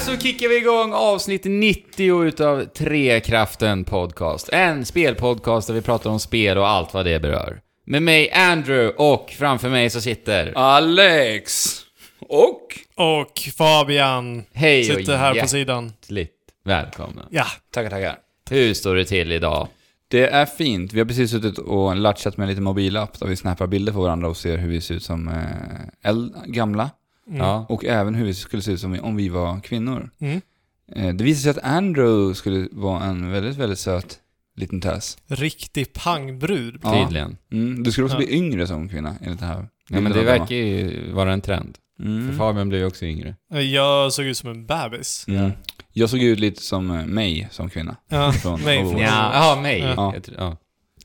så kickar vi igång avsnitt 90 utav Trekraften Podcast. En spelpodcast där vi pratar om spel och allt vad det berör. Med mig Andrew och framför mig så sitter... Alex. Och? Och Fabian Hej och sitter här på hjärtligt sidan. välkomna. Ja, Tackar, tackar. Hur står det till idag? Det är fint. Vi har precis suttit och latchat med lite mobilapp där vi snappar bilder på varandra och ser hur vi ser ut som eh, äl- gamla. Ja. Och även hur vi skulle se ut som vi, om vi var kvinnor. Mm. Eh, det visade sig att Andrew skulle vara en väldigt, väldigt söt liten tass. riktig pangbrud. Ja. Tydligen. Mm. Du skulle också Ja. bli yngre som kvinna enligt det här. Ja, men det enligt de här verkar ju vara en trend. Mm. För Fabian blir ju också yngre. Jag såg ut som en bebis. Mm. Jag såg ut lite som eh, mig som kvinna. Ja, Från mig Overwatch. från- Ja, ja mig. Ja. Jag tror- ja.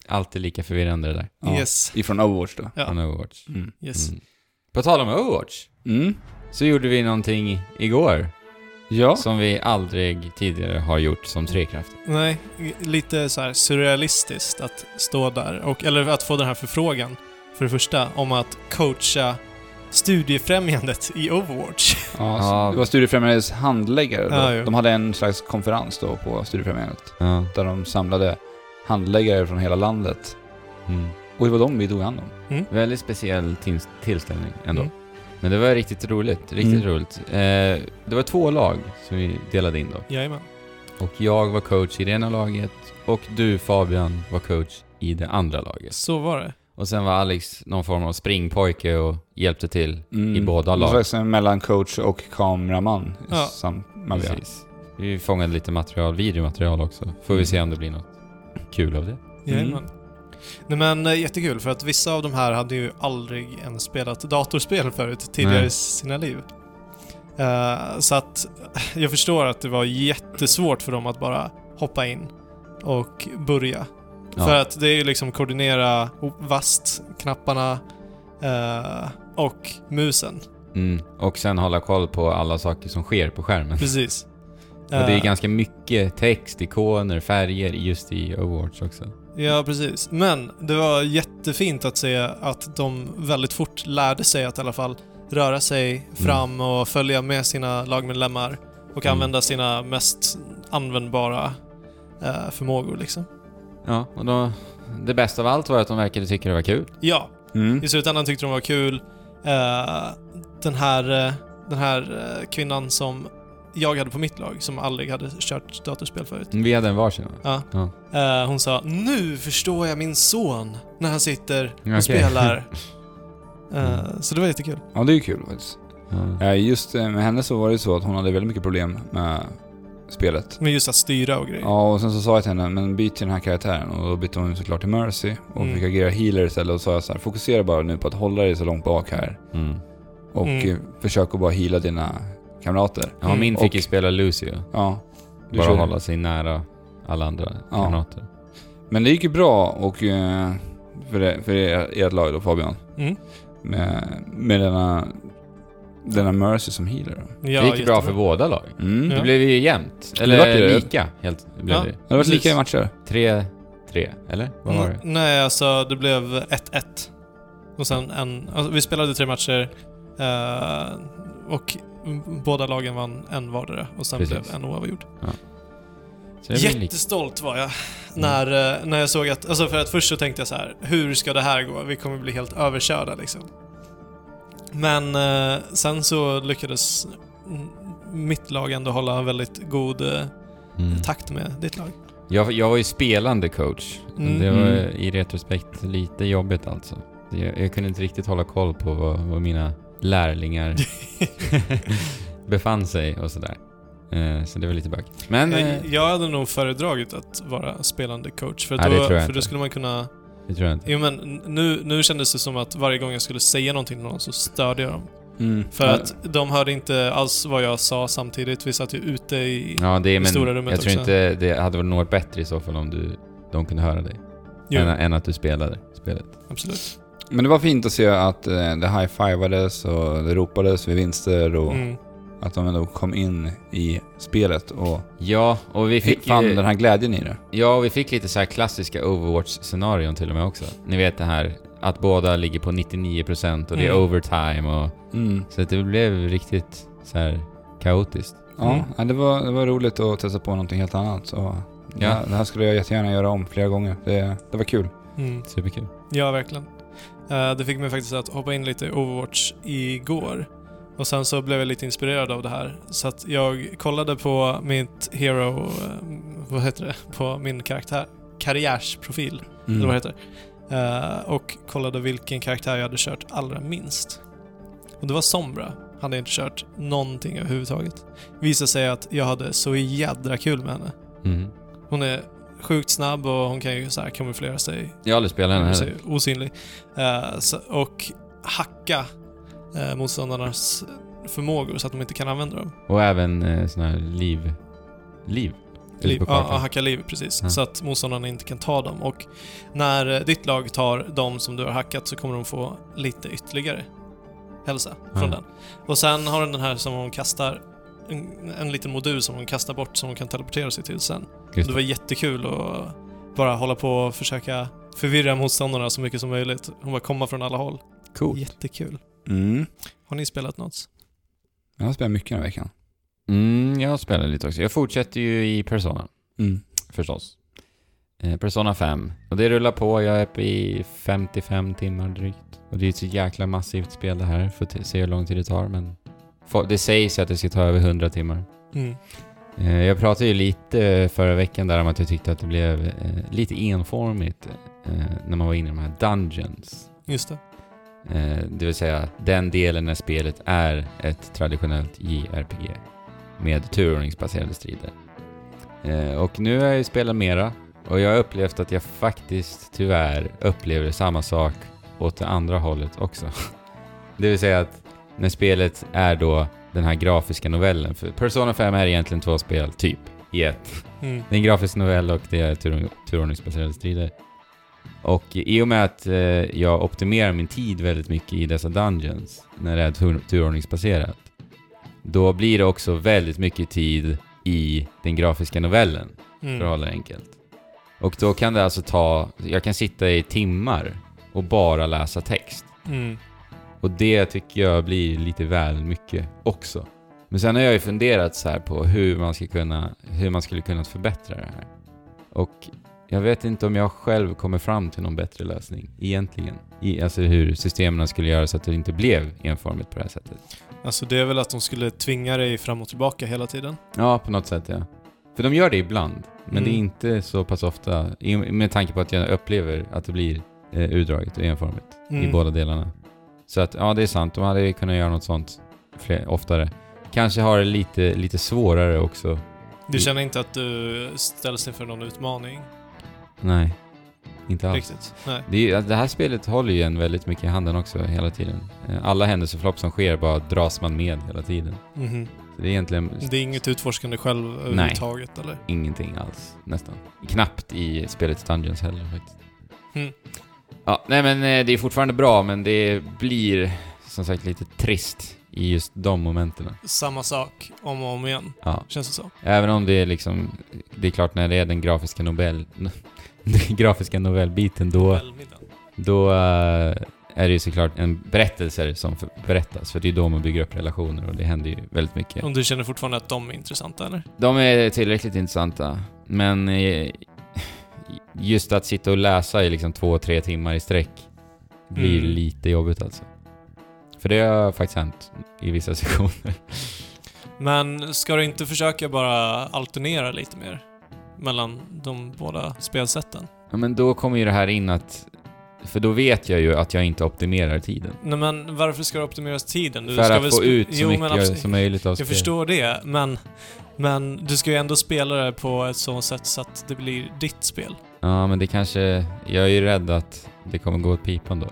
Alltid lika förvirrande det där. Ja. Yes. Ifrån Overwatch då. Ja. Från Overwatch. Mm. yes. Mm. På tal om Overwatch. Mm. så gjorde vi någonting igår Ja. som vi aldrig tidigare har gjort som Trekraft. Nej, lite så här surrealistiskt att stå där. Och, eller att få den här förfrågan, för det första, om att coacha studiefrämjandet i Overwatch. Ja, Ja. så Det var Studiefrämjandets handläggare. då. Ja, jo. de hade en slags konferens då på Studiefrämjandet Ja. där de samlade handläggare från hela landet. Mm. Och det var de vi tog hand om. Väldigt speciell tins- tillställning ändå. Mm. Men det var riktigt roligt. Riktigt Mm. roligt. Eh, det var två lag som vi delade in då. Jajamän. Och jag var coach i det ena laget och du Fabian var coach i det andra laget. Så var det. Och sen var Alex någon form av springpojke och hjälpte till. Mm. I båda lag. Det var faktiskt mellan coach och kameraman. Ja. Sam- man vill. Precis. Vi fångade lite material, videomaterial också. Får vi Mm. se om det blir något kul av det. Jajamän. Nej men eh, jättekul, för att vissa av de här hade ju aldrig ens spelat datorspel förut tidigare Nej. i sina liv. Eh, så att jag förstår att det var jättesvårt för dem att bara hoppa in och börja. Ja. För att det är ju liksom koordinera vast knapparna eh, och musen. Mm. Och sen hålla koll på alla saker som sker på skärmen. Precis. Och det är Eh, ganska mycket text, ikoner, färger just i awards också. Ja, precis. Men det var jättefint att se att de väldigt fort lärde sig att i alla fall röra sig fram och följa med sina lagmedlemmar och Mm. använda sina mest användbara eh, förmågor liksom. Ja, och då, det bästa av allt var att de verkade tycka det var kul. Ja, Mm. i slutändan tyckte de var kul. Eh, den här, eh, den här eh, kvinnan som jag hade på mitt lag, som aldrig hade kört datorspel förut. Vi hade en varsin. va? Ja. Ja. Eh, hon sa “Nu förstår jag min son när han sitter och Okej. spelar”. Eh, Mm. Så det var jättekul. Ja, det är ju kul faktiskt. Ja. Eh, Just eh, med henne så var det så att hon hade väldigt mycket problem med spelet. Men just att styra och grejer. Ja, och sen så sa jag till henne, men byt till den här karaktären. Och då bytte hon såklart till Mercy och Mm. fick agera healer istället. Och sa jag så här, fokusera bara nu på att hålla dig så långt bak här. Mm. Och Mm. eh, försök att bara heala dina kamrater. ja, min Mm. fick ju Och- spela Lucio. Ja. Du Bara kör- hålla sig nära alla andra Ja. kamrater. Men det gick ju bra och eh, för, det, för er, ert lag då Fabian. Mm. Med, med denna, denna Mercy som healer. det Ja, gick ju bra jättebra. för båda lag. Mm. Ja. Det blev ju jämnt. vart Eller ju- lika, helt blev Ja. det. Det har varit lika i Precis. matcher. 3-3, eller? Vad var det? N- Nej, alltså det blev 1-1. Och sen en... Alltså, vi spelade tre matcher eh, och m- båda lagen vann en vardera och sen Precis. blev en oavgjord. Så det blev lika. Jättestolt var jag Mm. när, eh, när jag såg att... Alltså för att först så tänkte jag så här, hur ska det här gå? Vi kommer bli helt överkörda liksom. Men eh, sen så lyckades mm, mitt lag ändå hålla en väldigt god eh, Mm. takt med ditt lag. Jag, jag var ju spelande coach. Mm. Det var Mm. i retrospekt lite jobbigt alltså. Jag, jag kunde inte riktigt hålla koll på vad, vad mina lärlingar befann sig och sådär. Eh, så det var lite bökigt. Men eh, Jag, Mm. jag hade nog föredragit att vara spelande coach, för, Ja, det då, tror jag för då inte. skulle man kunna... det tror jag inte. Jo, men nu, nu kändes det som att varje gång jag skulle säga någonting till någon så störde jag dem. Mm. För att de hörde inte alls vad jag sa samtidigt. Vi satt ju ute i... Ja, det, men stora rummet jag tror också. inte det hade varit något bättre i så fall om du, de kunde höra dig. Jo, Än, än att du spelade spelet. absolut. Men det var fint att se att eh, det high-fivades och det ropades vid vinster och Mm. att de ändå kom in i spelet och Ja, och vi fick fann ju... den här glädjen i det. Ja, och vi fick lite så här klassiska Overwatch-scenarion till och med också. Ni vet det här att båda ligger på 99% och det är Mm. Mm. overtime och... Så att det blev riktigt så här kaotiskt. Ja, Mm. ja, det, var, det var roligt att testa på någonting helt annat. Så det, här, det här skulle jag jättegärna göra om flera gånger. Det, det var kul. Mm. Superkul. Ja, verkligen. Eh, Det fick mig faktiskt att hoppa in lite i Overwatch igår. Och sen så blev jag lite inspirerad av det här. Så att jag kollade på mitt hero... eh, Vad heter det? På min karaktär. Karriärsprofil. Eller Mm. vad heter det? Eh, Och kollade vilken karaktär jag hade kört allra minst. Och det var Sombra. Hade jag inte kört någonting överhuvudtaget. Visade sig att jag hade så jädra kul med henne. Mm. Hon är sjukt snabb och hon kan ju så här kamouflera sig Jag har aldrig spelat den heller. Precis, osynlig. Eh, så, och hacka eh, motståndarnas förmågor så att de inte kan använda dem. Och även eh, sån här liv... Liv? Ute Liv, på ja, kartan. ja, hacka liv, precis. Ja. Så att motståndarna inte kan ta dem. Och när eh, ditt lag tar de som du har hackat så kommer de få lite ytterligare hälsa från Ja. den. Och sen har den den här som hon kastar, en, en liten modul som hon kastar bort som hon kan teleportera sig till sen. Just Det var jättekul att bara hålla på och försöka förvirra motståndarna så mycket som möjligt. Hon bara komma från alla håll. Coolt. Jättekul. Mm. Har ni spelat något? Jag har spelat mycket den här veckan. Mm, jag spelar lite också. Jag fortsätter ju i Persona, Mm. förstås. Eh, Persona 5. Och det rullar på. Jag är uppe i 55 timmar drygt. Och det är ett så jäkla massivt spel det här. Får t- se hur lång tid det tar, men... fo- Det sägs ju att det ska ta över 100 timmar. Mm. Eh, Jag pratade ju lite eh, förra veckan där om att jag tyckte att det blev eh, lite enformigt eh, när man var inne i de här dungeons. Just det. Eh, Det vill säga den delen när spelet är ett traditionellt JRPG med turordningsbaserade strider. Eh, Och nu har jag ju spelat mera och jag har upplevt att jag faktiskt tyvärr upplever samma sak åt det andra hållet också. Det vill säga att när spelet är då den här grafiska novellen, för Persona 5 är egentligen två spel, typ, i ett. Mm. Det är en grafisk novell och det är tur- turordningsbaserade strider. Och i och med att eh, jag optimerar min tid väldigt mycket i dessa dungeons, när det är tur- turordningsbaserat, då blir det också väldigt mycket tid i den grafiska novellen, för att Mm. hålla det enkelt. Och då kan det alltså ta, jag kan sitta i timmar och bara läsa text. Mm. Och det tycker jag blir lite väl mycket också. Men sen har jag ju funderat så här på hur man, ska kunna, hur man skulle kunna förbättra det här. Och jag vet inte om jag själv kommer fram till någon bättre lösning egentligen. I, alltså hur systemen skulle göra så att det inte blev enformigt på det här sättet. Alltså det är väl att de skulle tvinga dig fram och tillbaka hela tiden. Ja, på något sätt ja. För de gör det ibland, men Mm. det är inte så pass ofta. i- Med tanke på att jag upplever att det blir eh, utdraget och enformigt. i Mm. båda delarna. Så att, ja det är sant, de hade ju kunnat göra något sånt fler, oftare. Kanske har det lite, lite svårare också. Du känner inte att du ställs inför någon utmaning Nej, inte alls. riktigt? Nej. Det, är, ju- det här spelet håller ju en väldigt mycket i handen också hela tiden. Eh, Alla händelseförlopp som sker bara dras man med hela tiden. Mhm. Så det är egentligen Det är inget utforskande själv överhuvudtaget eller? ingenting alls, nästan. Knappt i spelets Dungeons heller faktiskt. Mm. Ja, nej men eh, det är fortfarande bra, men det blir som sagt lite trist i just de momenten. Samma sak om och om igen, Ja. känns det så. Även om det är liksom, det är klart när det är den grafiska nobel, den grafiska novellbiten då, Välmiddagen. då eh, är det ju såklart en berättelser som för, berättas, för det är då man bygger upp relationer och det händer ju väldigt mycket. Om du känner fortfarande att de är intressanta eller? De är tillräckligt intressanta, men eh, just att sitta och läsa i liksom två, tre timmar i sträck blir Mm. lite jobbigt alltså. För det har faktiskt hänt i vissa sessioner. Men ska du inte försöka bara alternera lite mer? Mellan de båda spelsätten? Ja, men då kommer ju det här in att, för då vet jag ju att jag inte optimerar tiden. Nej men varför ska det optimeras tiden? Du För ska att få sp- ut så Jo, men mycket absolut. som möjligt av Jag spelet. förstår det, men, men du ska ju ändå spela det på ett sånt sätt så att det blir ditt spel. Ja, men det kanske... Jag är ju rädd att det kommer gå åt pipan då.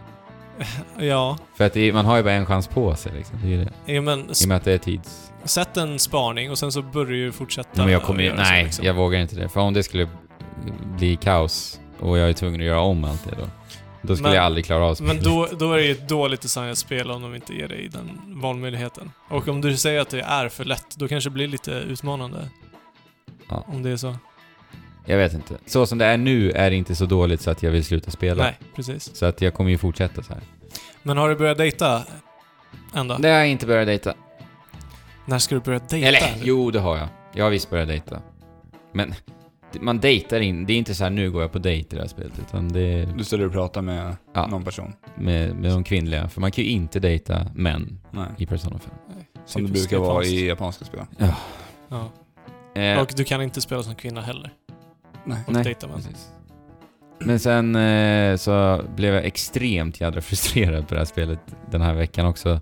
Ja, För att det, man har ju bara en chans på sig liksom. Det är ju det. ja men I s- och med att det är tids... sätt en spaning och sen så börjar du fortsätta. Nej, men jag kommer ju... att göra så, Nej, liksom. jag vågar inte det. För om det skulle bli kaos och jag är tvungen att göra om allt det då. Då skulle Men- jag aldrig klara av spelet. Men då, då är det ju ett dåligt designat spel om de inte ger dig den valmöjligheten. Och om du säger att det är för lätt, då kanske det blir lite utmanande. Ja. Om det är så. Jag vet inte. Så som det är nu är det inte så dåligt så att jag vill sluta spela. Nej, precis. Så att jag kommer ju fortsätta så här. Men har du börjat dejta? Än då? Det har jag inte börjat dejta. När ska du börja dejta? Eller jo, det har jag. Jag har visst börjat dejta. Men det- man dejtar in. Det är inte så här nu går jag på dejt i det här spelet. Utan det är Du står där och pratar med Ja. någon person. med, med de kvinnliga. För man kan ju inte dejta män Nej. i Persona 5. Som det Typiskt brukar vara japanskt. i japanska spel. Ja. Eh, Och du kan inte spela som kvinna heller. Nej. Och Nej. dejta män. Precis. Men sen eh, så blev jag extremt jädra frustrerad på det här spelet den här veckan också.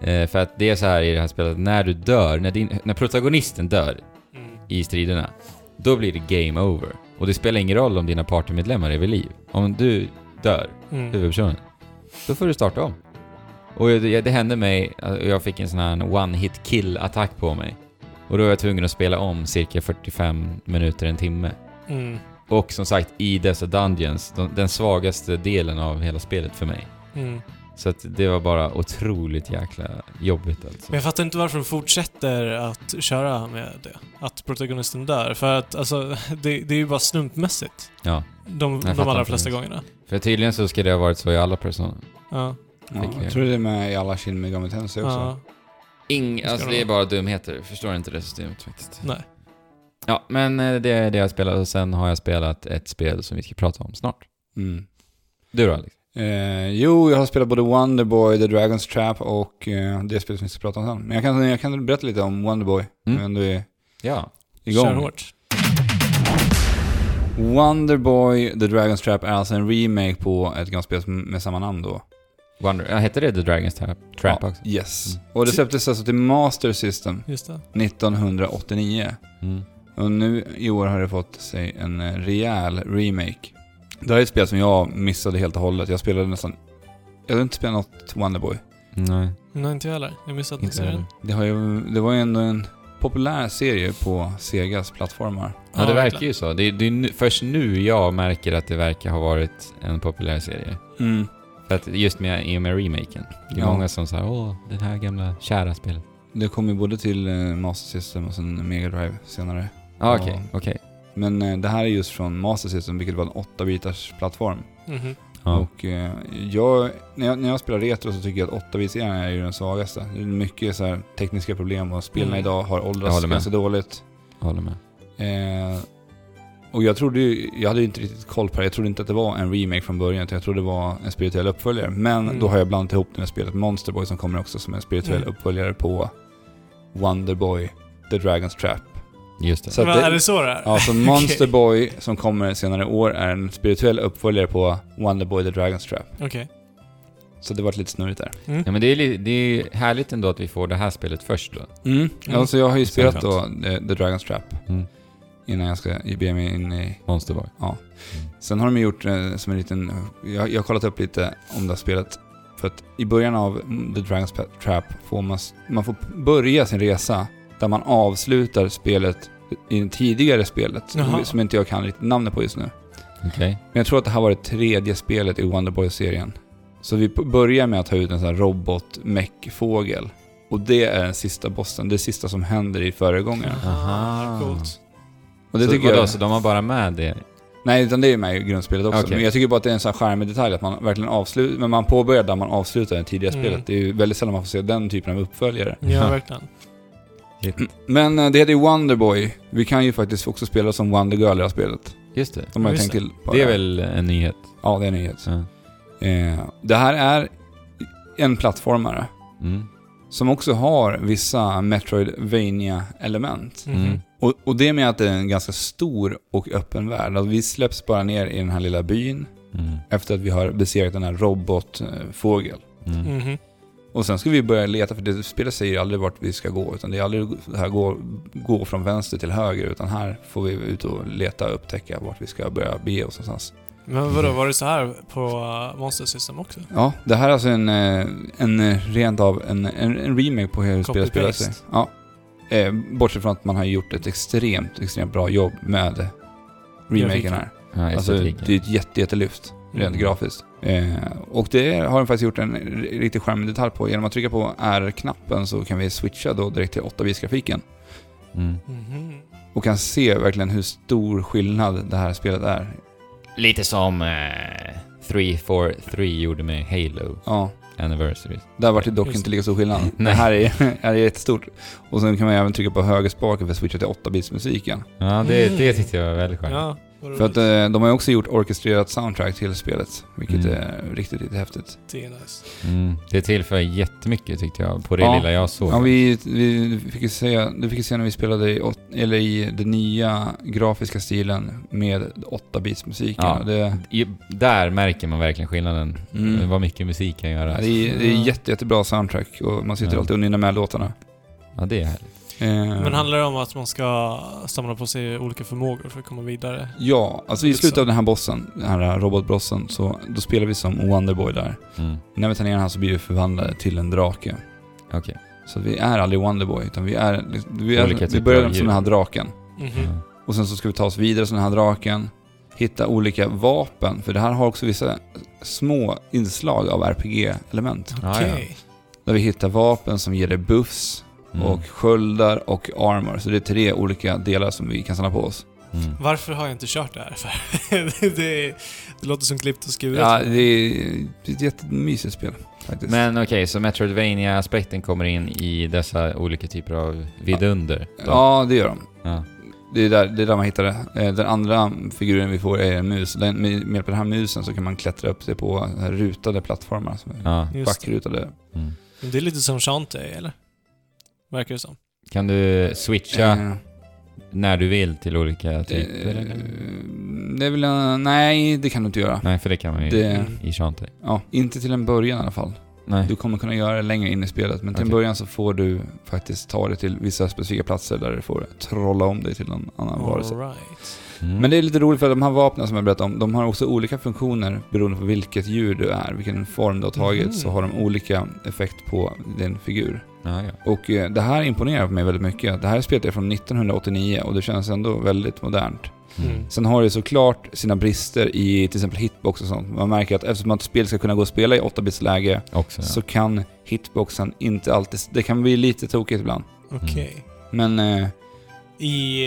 Eh, för att det är så här i det här spelet, när du dör, när, din, när protagonisten dör Mm. i striderna, då blir det game over. Och det spelar ingen roll om dina partymedlemmar är vid liv. Om du dör, Mm. huvudpersonen, då får du starta om. Och det, det hände mig, eh, jag fick en sån här one-hit kill-attack på mig. Och då var jag tvungen att spela om cirka 45 minuter, en timme. Mm. Och som sagt, i dessa Dungeons, de, den svagaste delen av hela spelet för mig. Mm. Så att det var bara otroligt jäkla jobbigt alltså. Men jag fattar inte varför de fortsätter att köra med det. Att protagonisten dör. För att alltså, det, det är ju bara slumpmässigt. Ja. De, de fattar allra inte flesta det. gångerna. För tydligen så ska det ha varit så i alla personer. Ja. Ja, Fick jag. jag tror det är med i alla Shin Megami Tensei också. ja. Ing, alltså de det är ha? bara dumheter. Förstår inte det systemet faktiskt. Nej. Ja, men eh, det är det jag spelat och sen har jag spelat ett spel som vi ska prata om snart. Mm. Du då Alex? Eh, jo, jag har spelat både Wonderboy, The Dragon's Trap och eh, det spelet som vi ska prata om sen. Men jag kan, jag kan berätta lite om Wonderboy, Mm. men du är Ja. igång. Kör hårt. Wonderboy, The Dragon's Trap är alltså en remake på ett gammalt spel som- med samma namn då. Wonder, ja, hette det The Dragon's Trap, Trap ja, också? Yes. Mm. Och det släpptes alltså till Master System Just det. 1989. Mm. Och nu i år har det fått sig en eh, rejäl remake. Det här är ett spel som jag missade helt och hållet. Jag spelade nästan... Jag har inte spelat något Wonderboy. Nej, Nej, inte jag heller. Jag missade att ni inte ser heller. den. Det, har ju, det var ju ändå en populär serie på Segas plattformar. Ja, det Ja, verkar ju så. Det, är- det är nu, först nu jag märker att det verkar ha varit en populär serie. För att just med, i och med remaken. Det är Ja. många som säger åh, det här gamla kära spelet. Det kom ju både till eh, Master System och sen Mega Drive senare. Ja, ah, Ja. okej, okej. Men eh, det här är just från Master System, vilket var en 8-bitars plattform. Mhm. Ja. Och eh, jag, när, jag, när jag spelar retro så tycker jag att 8-bitsserien är ju den svagaste. Det är mycket så här tekniska problem och spelen Mm. idag har Jag åldrats håller med. ganska dåligt. Jag håller med. Eh, och jag trodde ju, jag hade ju inte riktigt koll på det. Jag trodde inte att det var en remake från början, utan jag trodde det var en spirituell uppföljare. Men Mm. då har jag blandat ihop det med spelet Monster Boy som kommer också som en spirituell Mm. uppföljare på Wonder Boy, The Dragon's Trap. Just det. Så att Men det- är det så det är? Ja, så Monster Boy som kommer senare i år är en spirituell uppföljare på Wonder Boy, The Dragon's Trap. Okej. Mm. Så det vart lite snurrigt där. Ja, men det är, li- det är ju härligt ändå att vi får det här spelet först då. Mm. Alltså jag har ju Så är det spelat då eh, The Dragon's Trap Mm. innan jag ska ge mig in i Monsterboy. Sen har de gjort eh, som en liten... Jag, jag har kollat upp lite om det här spelet. För att i början av The Dragon's Pa- Trap får man, s- man får börja sin resa där man avslutar spelet i det tidigare spelet. Jaha. Som, som inte jag kan riktigt namnet på just nu. Okej. Men jag tror att det här var det tredje spelet i Wonderboy-serien. Så vi p- börjar med att ta ut en sån här robot fågel Och det är den sista bossen. Det sista som händer i föregångaren. Aha. Coolt. Och det så, tycker vadå, jag... så de har bara med det? Nej, utan det är ju med i grundspelet också. Okej. Men jag tycker bara att det är en sån här charmig detalj att man verkligen avslutar, men man påbörjar där man avslutar det tidigare Mm. spelet. Det är ju väldigt sällan man får se den typen av uppföljare. Ja, verkligen. Men eh, det heter ju Wonderboy. Vi kan ju faktiskt också spela som Wonder Girl i det här spelet. Just det. De har ju Just tänkt till på Det är här. väl en nyhet? Ja, det är en nyhet. Ja. Eh, det här är en plattformare Mm. som också har vissa metroidvania element Mhm. Mm. och, och det med att det är en ganska stor och öppen värld. Alltså, vi släpps bara ner i den här lilla byn Mm. efter att vi har besegrat den här robotfågeln. Mm. Mhm. Och sen ska vi börja leta, för det spelet säger ju aldrig vart vi ska gå, utan det är aldrig det här gå, gå från vänster till höger, utan här får vi ut och leta och upptäcka vart vi ska börja bege oss någonstans. Men vadå, var det så här på eh, Monster System också? Ja, det här är alltså en, eh, en eh, rent av en, en, en remake på hur spelet spelar sig. Copy-paste. Ja. Eh, bortsett från att man har gjort ett extremt, extremt bra jobb med remaken Grafiken. Mm. här. Ja, Alltså, estetiken. det är ett jätte, jättelyft. rent grafiskt. Eh, och det har de faktiskt gjort en r- riktigt charmig detalj på. Genom att trycka på R-knappen så kan vi switcha då direkt till 8-bits-grafiken. Mm. Mhm. Och kan se verkligen hur stor skillnad det här spelet är. Lite som eh, 343 gjorde med Halo. Ja, anniversaries. Där vart det dock Just inte lika stor skillnad. Det Nej. här är, här är jättestort. Och sen kan man även trycka på högerspaken för att switcha till 8-bitsmusiken. Ja, det, Mm. det tyckte jag var väldigt skönt. Ja, vad För att äh, roligt. eh, de har ju också gjort orkestrerat soundtrack till spelet, vilket Mm. är riktigt, riktigt häftigt. det är nice. Mm. Det tillför jättemycket tyckte jag, på det Ja. lilla jag såg. Ja, vi, vi fick ju se, du fick ju se när vi spelade i, åt- eller i den nya grafiska stilen med 8-bitsmusiken. Ja. Och Det, I, där märker man verkligen skillnaden. Mm. Vad mycket musik kan göra. ja, det är, det är jätte, jättebra soundtrack och man sitter Ja. alltid och nynnar med låtarna. Ja, det är härligt. Eh, Men handlar det om att man ska samla på sig olika förmågor för att komma vidare? Ja, alltså i Liksom. slutet av den här bossen, den här robotbossen, så då spelar vi som Wonderboy där. Mm. När vi tar ner han så blir vi förvandlade till en drake. Okej. Så vi är aldrig Wonderboy, utan vi är... liksom, Vi, Olika är, vi typer börjar av som den här djur. draken. Mhm. Ja. Och sen så ska vi ta oss vidare som den här draken. Hitta olika vapen, för det här har också vissa små inslag av RPG-element. Ja, Okej. Ah, Där vi hittar vapen som ger dig buffs, ja. Mm. och sköldar och armor. Så det är tre olika delar som vi kan samla på oss. Mm. Varför har jag inte kört det här? För det, är- det låter som klippt och skuret. Ja, det är ett jättemysigt spel faktiskt. Men okej, så metroidvania aspekten kommer in i dessa olika typer av vidunder? då? Ja, det gör de. Ja. Det är, där, det är där man hittar det. Eh, Den andra figuren vi får är en mus. Den, med med hjälp av den här musen så kan man klättra upp sig på eh, rutade plattformar. Som är ja. Just det. backrutade. Mm. Men det är lite som Shantae, eller? Verkar det som. Kan du switcha Eh, när du vill till olika typer? eh, eller? det är väl en, nej, det kan du inte göra. Nej, för det kan man ju Det- Mm. i Shantae. Ja, inte till en början i alla fall. Nej. Du kommer kunna göra det längre in i spelet, men till en Okej. början så får du faktiskt ta dig till vissa specifika platser där du får trolla om dig till någon annan varelse. Alright. Mm. Men det är lite roligt för de här vapnen som jag berättade om, de har också olika funktioner beroende på vilket djur du är, vilken form du har tagit, Mhm. så har de olika effekt på din figur. ja, ja. Och eh, det här imponerar på mig väldigt mycket. Det här spelet är från 1989 och det känns ändå väldigt modernt. Mm. Sen har det såklart sina brister i till exempel hitbox och sånt. Man märker att eftersom att spel ska kunna gå och spela i 8-bits läge Också ja. så kan hitboxen inte alltid... Det kan bli lite tokigt ibland. Mm. Okej. Men eh, I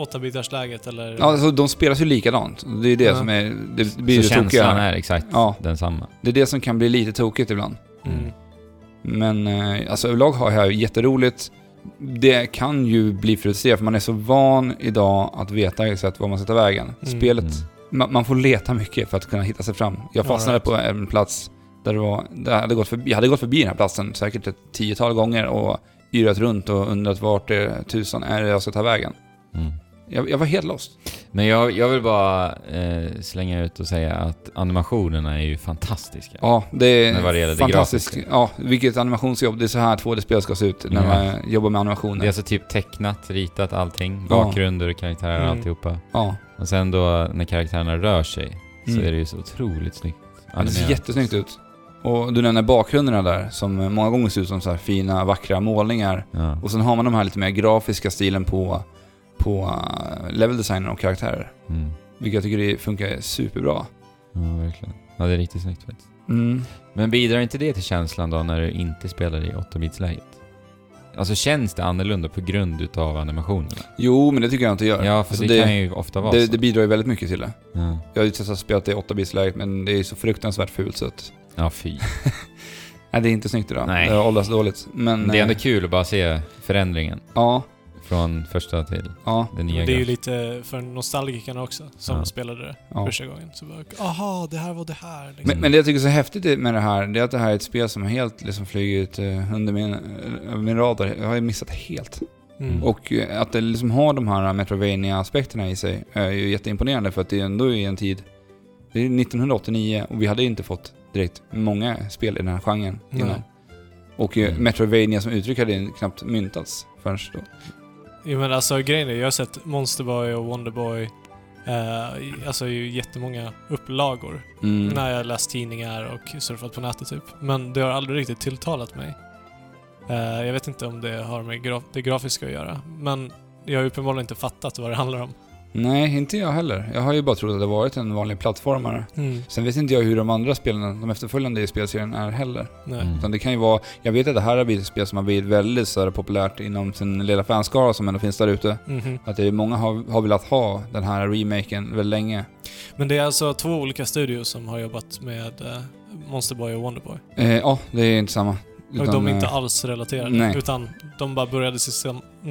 8-bitarsläget, eller? alltså, de spelas ju likadant. Det är det Ja. som är... Det blir så det känslan tokiga. är exakt Ja. densamma. Det är det som kan bli lite tokigt ibland. Mm. Men eh, alltså, överlag har jag jätteroligt. Det kan ju bli frustrerande för man är så van idag att veta exakt var man ska ta vägen. Mm. Spelet Mm. man, man får leta mycket för att kunna hitta sig fram. Jag fastnade Alright. på en plats där det var, där jag, hade gått förbi, jag hade gått förbi den här platsen säkert ett tiotal gånger och yrat runt och undrat vart det tusan är det jag ska ta vägen. Mm. Jag, jag var helt lost. Men jag, jag vill bara eh, slänga ut och säga att animationerna är ju fantastiska. Ja, det är Men vad det gäller det fantastiskt. grafiska. ja, vilket animationsjobb. Det är så här 2D-spel ska se ut när Ja. man jobbar med Det är animationer. alltså typ tecknat, ritat allting, Ja. bakgrunder, karaktärer, Mm. alltihopa. Ja, Och sen då när karaktärerna rör sig Mm. så är det ju så otroligt snyggt det ser animerat. jättesnyggt ut. Och du nämner bakgrunderna där som många gånger ser ut som så här fina, vackra målningar. Ja. Och sen har man de här lite mer grafiska stilen på, på eh, level designer och karaktärer. Mm. Vilket jag tycker det funkar superbra. ja, verkligen. Ja, det är riktigt snyggt faktiskt. Mm. Men bidrar inte det till känslan då när du inte spelar i 8-bitsläget? Alltså känns det annorlunda på grund utav animationerna? Jo, men det tycker jag inte gör. Ja, för Alltså, det, det- kan ju ofta vara Det, så. det bidrar ju väldigt mycket till det. Ja. Jag har ju testat att spela det i 8-bitsläget, men det är så fruktansvärt fult så att... ja, fy. Nej, det är inte snyggt idag. Nej. Det har åldrats dåligt. Men... Det är ändå eh, kul att bara se förändringen Ja, från första till ja, den nya Men det är ju grafiken. lite för nostalgikerna också, som Ja. spelade det ja. första gången. Så bara, aha, det här var det här. Liksom. Men, men det jag tycker är så häftigt med det här, det är att det här är ett spel som helt liksom flyger ut eh, under min, eh, min radar. Jag har ju missat helt. Mm. Och eh, att det liksom har de här metroidvania aspekterna i sig eh, är ju jätteimponerande för att det är ändå i en tid... Det är 1989 och vi hade inte fått direkt många spel i den här genren Nej. innan. Och eh, Mm. metroidvania som uttryck hade ju knappt myntats förrän då. Jo men alltså grejen är, jag har sett Monsterboy och Wonderboy, eh, i- alltså ju jättemånga upplagor Mm. när jag läst tidningar och surfat på nätet typ. Men det har aldrig riktigt tilltalat mig. Eh, jag vet inte om det har med graf- det grafiska att göra, men jag har ju uppenbarligen inte fattat vad det handlar om. Nej, inte jag heller. Jag har ju bara trott att det varit en vanlig plattformare. Sen vet inte jag hur de andra spelen, de efterföljande i spelserien är heller. Nej. Mm. Utan det kan ju vara, jag vet att det här har blivit ett spel som har blivit väldigt så här, populärt inom sin lilla fanskara som ändå finns där ute. Mhm. Att det är många har, har velat ha den här remaken väldigt länge. Men det är alltså två olika studios som har jobbat med eh, Monster Boy och Wonderboy. Eh, ja, det är inte samma. Och de är eh, inte alls relaterade. nej. Utan de bara började sitt,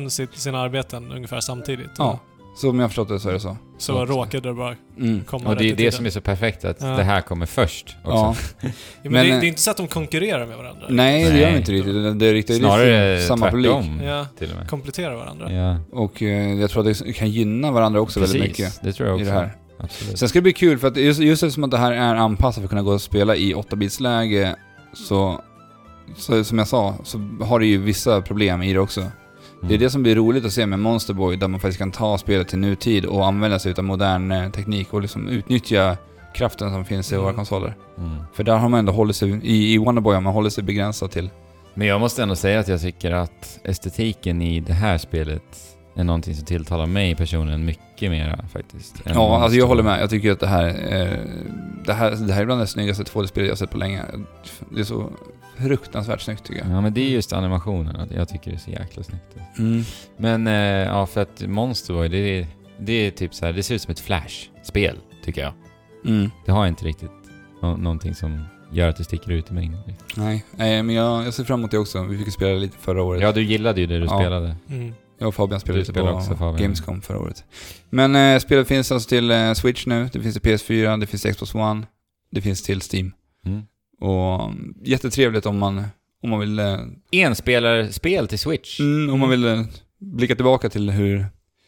sitt, sina arbeten ungefär samtidigt. Ja, som jag har förstått det så är det så. Så råkade det bara Mm. komma Och rätt det i är det tiden. som är så perfekt, att Ja. det här kommer först Ja. också. Ja, men men- det, det är inte så att de konkurrerar med varandra. Nej, det gör Nej. vi inte riktigt. Det, det riktar ju Snarare lite samma publik. tvärtom Ja, till och med. kompletterar varandra. Ja, Och eh, jag tror att det kan gynna varandra också väldigt mycket precis. Det tror jag i också. det här. Absolut. Sen ska det bli kul för att just, just eftersom att det här är anpassat för att kunna gå och spela i 8-bitsläge så, så, som jag sa, så har det ju vissa problem i det också. Det är det som blir roligt att se med Monster Boy där man faktiskt kan ta spelet till nutid och använda sig av modern eh, teknik och liksom utnyttja kraften som finns i våra Mm. konsoler. Mm. För där har man ändå hållit sig, i, i Wonderboy har man hållit sig begränsad till. Men jag måste ändå säga att jag tycker att estetiken i det här spelet är någonting som tilltalar mig personligen mycket mera faktiskt. än Ja, alltså jag Monster. håller med. Jag tycker att det här, eh, det här, det här är bland det snyggaste 2D-spel jag har sett på länge. Det är så fruktansvärt snyggt tycker jag. Ja, men det är just animationen. att Jag tycker det är så jäkla snyggt. Men eh, ja, för att Monster Boy, det är, det är typ så här, det ser ut som ett Flash-spel, tycker jag. Mm. Det har inte riktigt nå- någonting som gör att det sticker ut i mängden. riktigt. Nej, nej men jag, jag ser fram emot det också. Vi fick ju spela lite förra året. Ja, du gillade ju det du Ja. spelade. Mm. Jag och Fabian spelade Du lite spelar på också, Fabian. Gamescom förra året. Men eh, spelet finns alltså till eh, Switch nu, det finns till PS4, det finns till Xbox One, det finns till Steam. Mm. Och mm, jättetrevligt om man, om man vill, eh, Enspelarspel till Switch. mm, om man vill eh, blicka tillbaka till hur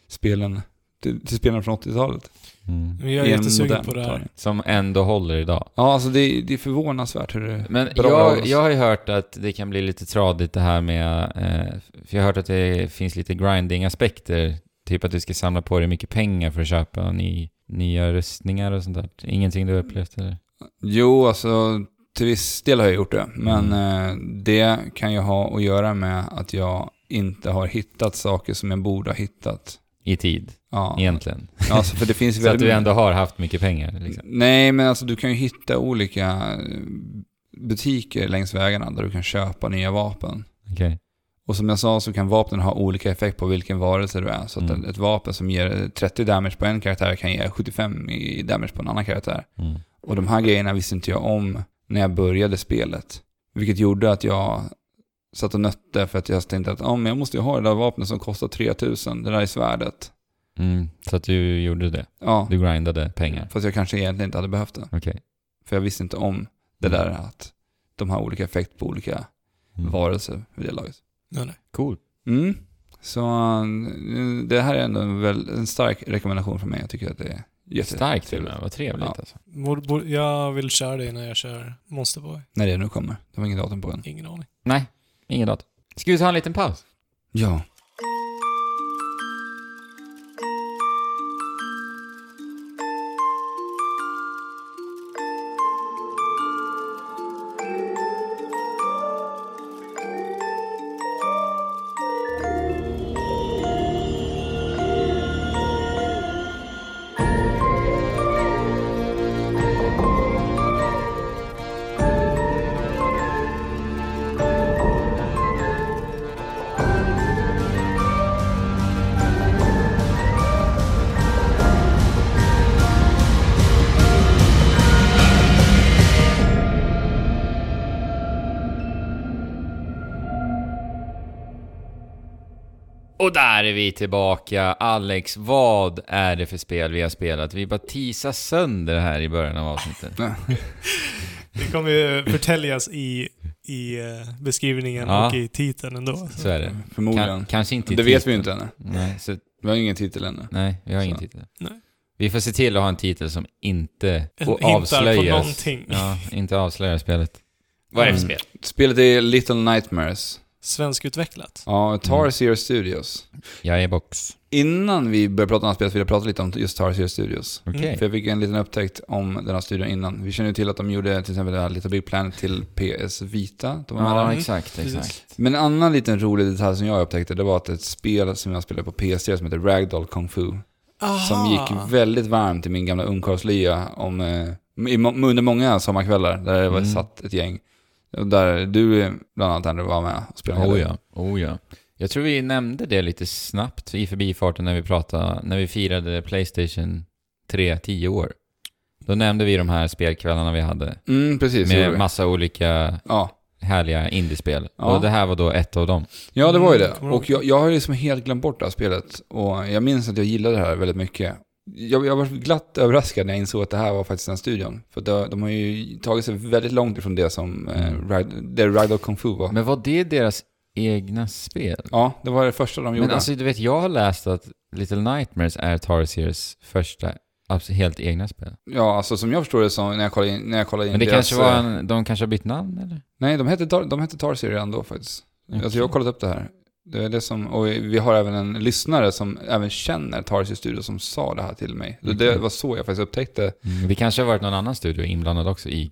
spelen, till, till spelen från 80-talet. Mm. Men jag är I en jättesugen modern på det här. upptagning. Som ändå håller idag. Ja, alltså det, det är förvånansvärt hur det... Men Bra jag, browsers. jag har ju hört att det kan bli lite tradigt det här med... Eh, för jag har hört att det finns lite grinding-aspekter. Typ att du ska samla på dig mycket pengar för att köpa ny, nya rustningar och sånt där. Ingenting du har upplevt eller? Jo, alltså till viss del har jag gjort det. Men Mm. eh, det kan ju ha att göra med att jag inte har hittat saker som jag borde ha hittat. I tid, Ja, egentligen. alltså, för det finns ju Så att väldigt du ändå har haft mycket pengar liksom. Nej, men alltså du kan ju hitta olika eh, butiker längs vägarna där du kan köpa nya vapen. Okej. Och som jag sa så kan vapnen ha olika effekt på vilken varelse du är. Så att Mm. ett vapen som ger 30 damage på en karaktär kan ge 75 i damage på en annan karaktär. Mm. Och de här grejerna visste inte jag om när jag började spelet. Vilket gjorde att jag satt och nötte för att jag tänkte att ah, men jag måste ju ha det där vapnet som kostar 3000, det där är svärdet. Mm. Så att du gjorde det. Ja, Du grindade pengar. fast jag kanske egentligen inte hade behövt det. Okej. För jag visste inte om det där att de har olika effekt på olika Mm. varelser vid det laget. Nej, nej. Cool. Mm. Så eh, det här är ändå en, väl, en stark rekommendation från mig. Jag tycker att det är jättetrevligt. Starkt till och med. Vad trevligt Ja. alltså. Borde- borde- Jag vill köra det innan jag kör Monster Boy. När det nu kommer. Det var ingen datum på än. Ingen aning. Nej, ingen dator. Ska vi ta en liten paus? Ja. Och där är vi tillbaka. Alex, vad är det för spel vi har spelat? Vi bara teasar sönder här i början av avsnittet. Det kommer ju förtäljas i, i eh, beskrivningen Ja. och i titeln ändå. Så är det. Förmodligen. Kan, kanske inte i det vet vi titeln. ju inte än. Nej, så, Vi har ingen titel ännu. nej vi har ingen Så. titel. Nej. Vi får se till att ha en titel som inte En och hintar på avslöjas. någonting. Ja, inte avslöjar spelet. Vad är det för Mm. spel? Spelet är Little Nightmares. Svenskutvecklat. Ja, Mm. Tarsier Studios. Jag är box. Innan vi börjar prata om det här spelet vill jag prata lite om just Tarsier Studios. Okej. Mm. För jag fick en liten upptäckt om den här studion innan. Vi känner ju till att de gjorde till exempel det här Little Big Planet till PS Vita. De var med Ja, där. Mm. exakt, Precis. exakt. Men en annan liten rolig detalj som jag upptäckte det var att ett spel som jag spelade på PS3 som heter Ragdoll Kung Fu. Aha. Ah. Som Ah! gick väldigt varmt i min gamla ungkarlslya om, eh, i må- under många sommarkvällar där det var Mm. satt ett gäng. Och Där du eh, bland annat Andrew var med och spelade. Oh ja, oh ja. Jag tror vi nämnde det lite snabbt i förbifarten när vi pratade, när vi firade Playstation 3 10 år. Då nämnde vi de här spelkvällarna vi hade Mm, precis. gjorde vi. med massa olika ja. härliga indiespel. Ja. Och det här var då ett av dem. ja, det var ju det. Mm, kommer Och jag, jag har ju liksom helt glömt bort det här spelet. Och jag minns att jag gillade det här väldigt mycket. Jag, jag var glatt överraskad när jag insåg att det här var faktiskt den studion. För det, de har ju tagit sig väldigt långt ifrån det som Mm. eh, Ride, det Ride of Kung Fu var. Men var det deras egna spel? ja, det var det första de gjorde. Men alltså du vet, jag har läst att Little Nightmares är Tarsiers första abs- helt egna spel. ja, alltså som jag förstår det så när jag kollade in, när jag kollade in Men det kanske var eh, en, de kanske har bytt namn eller? Nej, de hette, Tar- de hette Tarsier redan då faktiskt. Mm. Alltså jag har kollat upp det här. Det är det som, och vi har även en lyssnare som även känner Tarsier Studio som sa det här till mig. Så Det Okej. var så jag faktiskt upptäckte. Mm, det kanske har varit någon annan studio inblandad också i,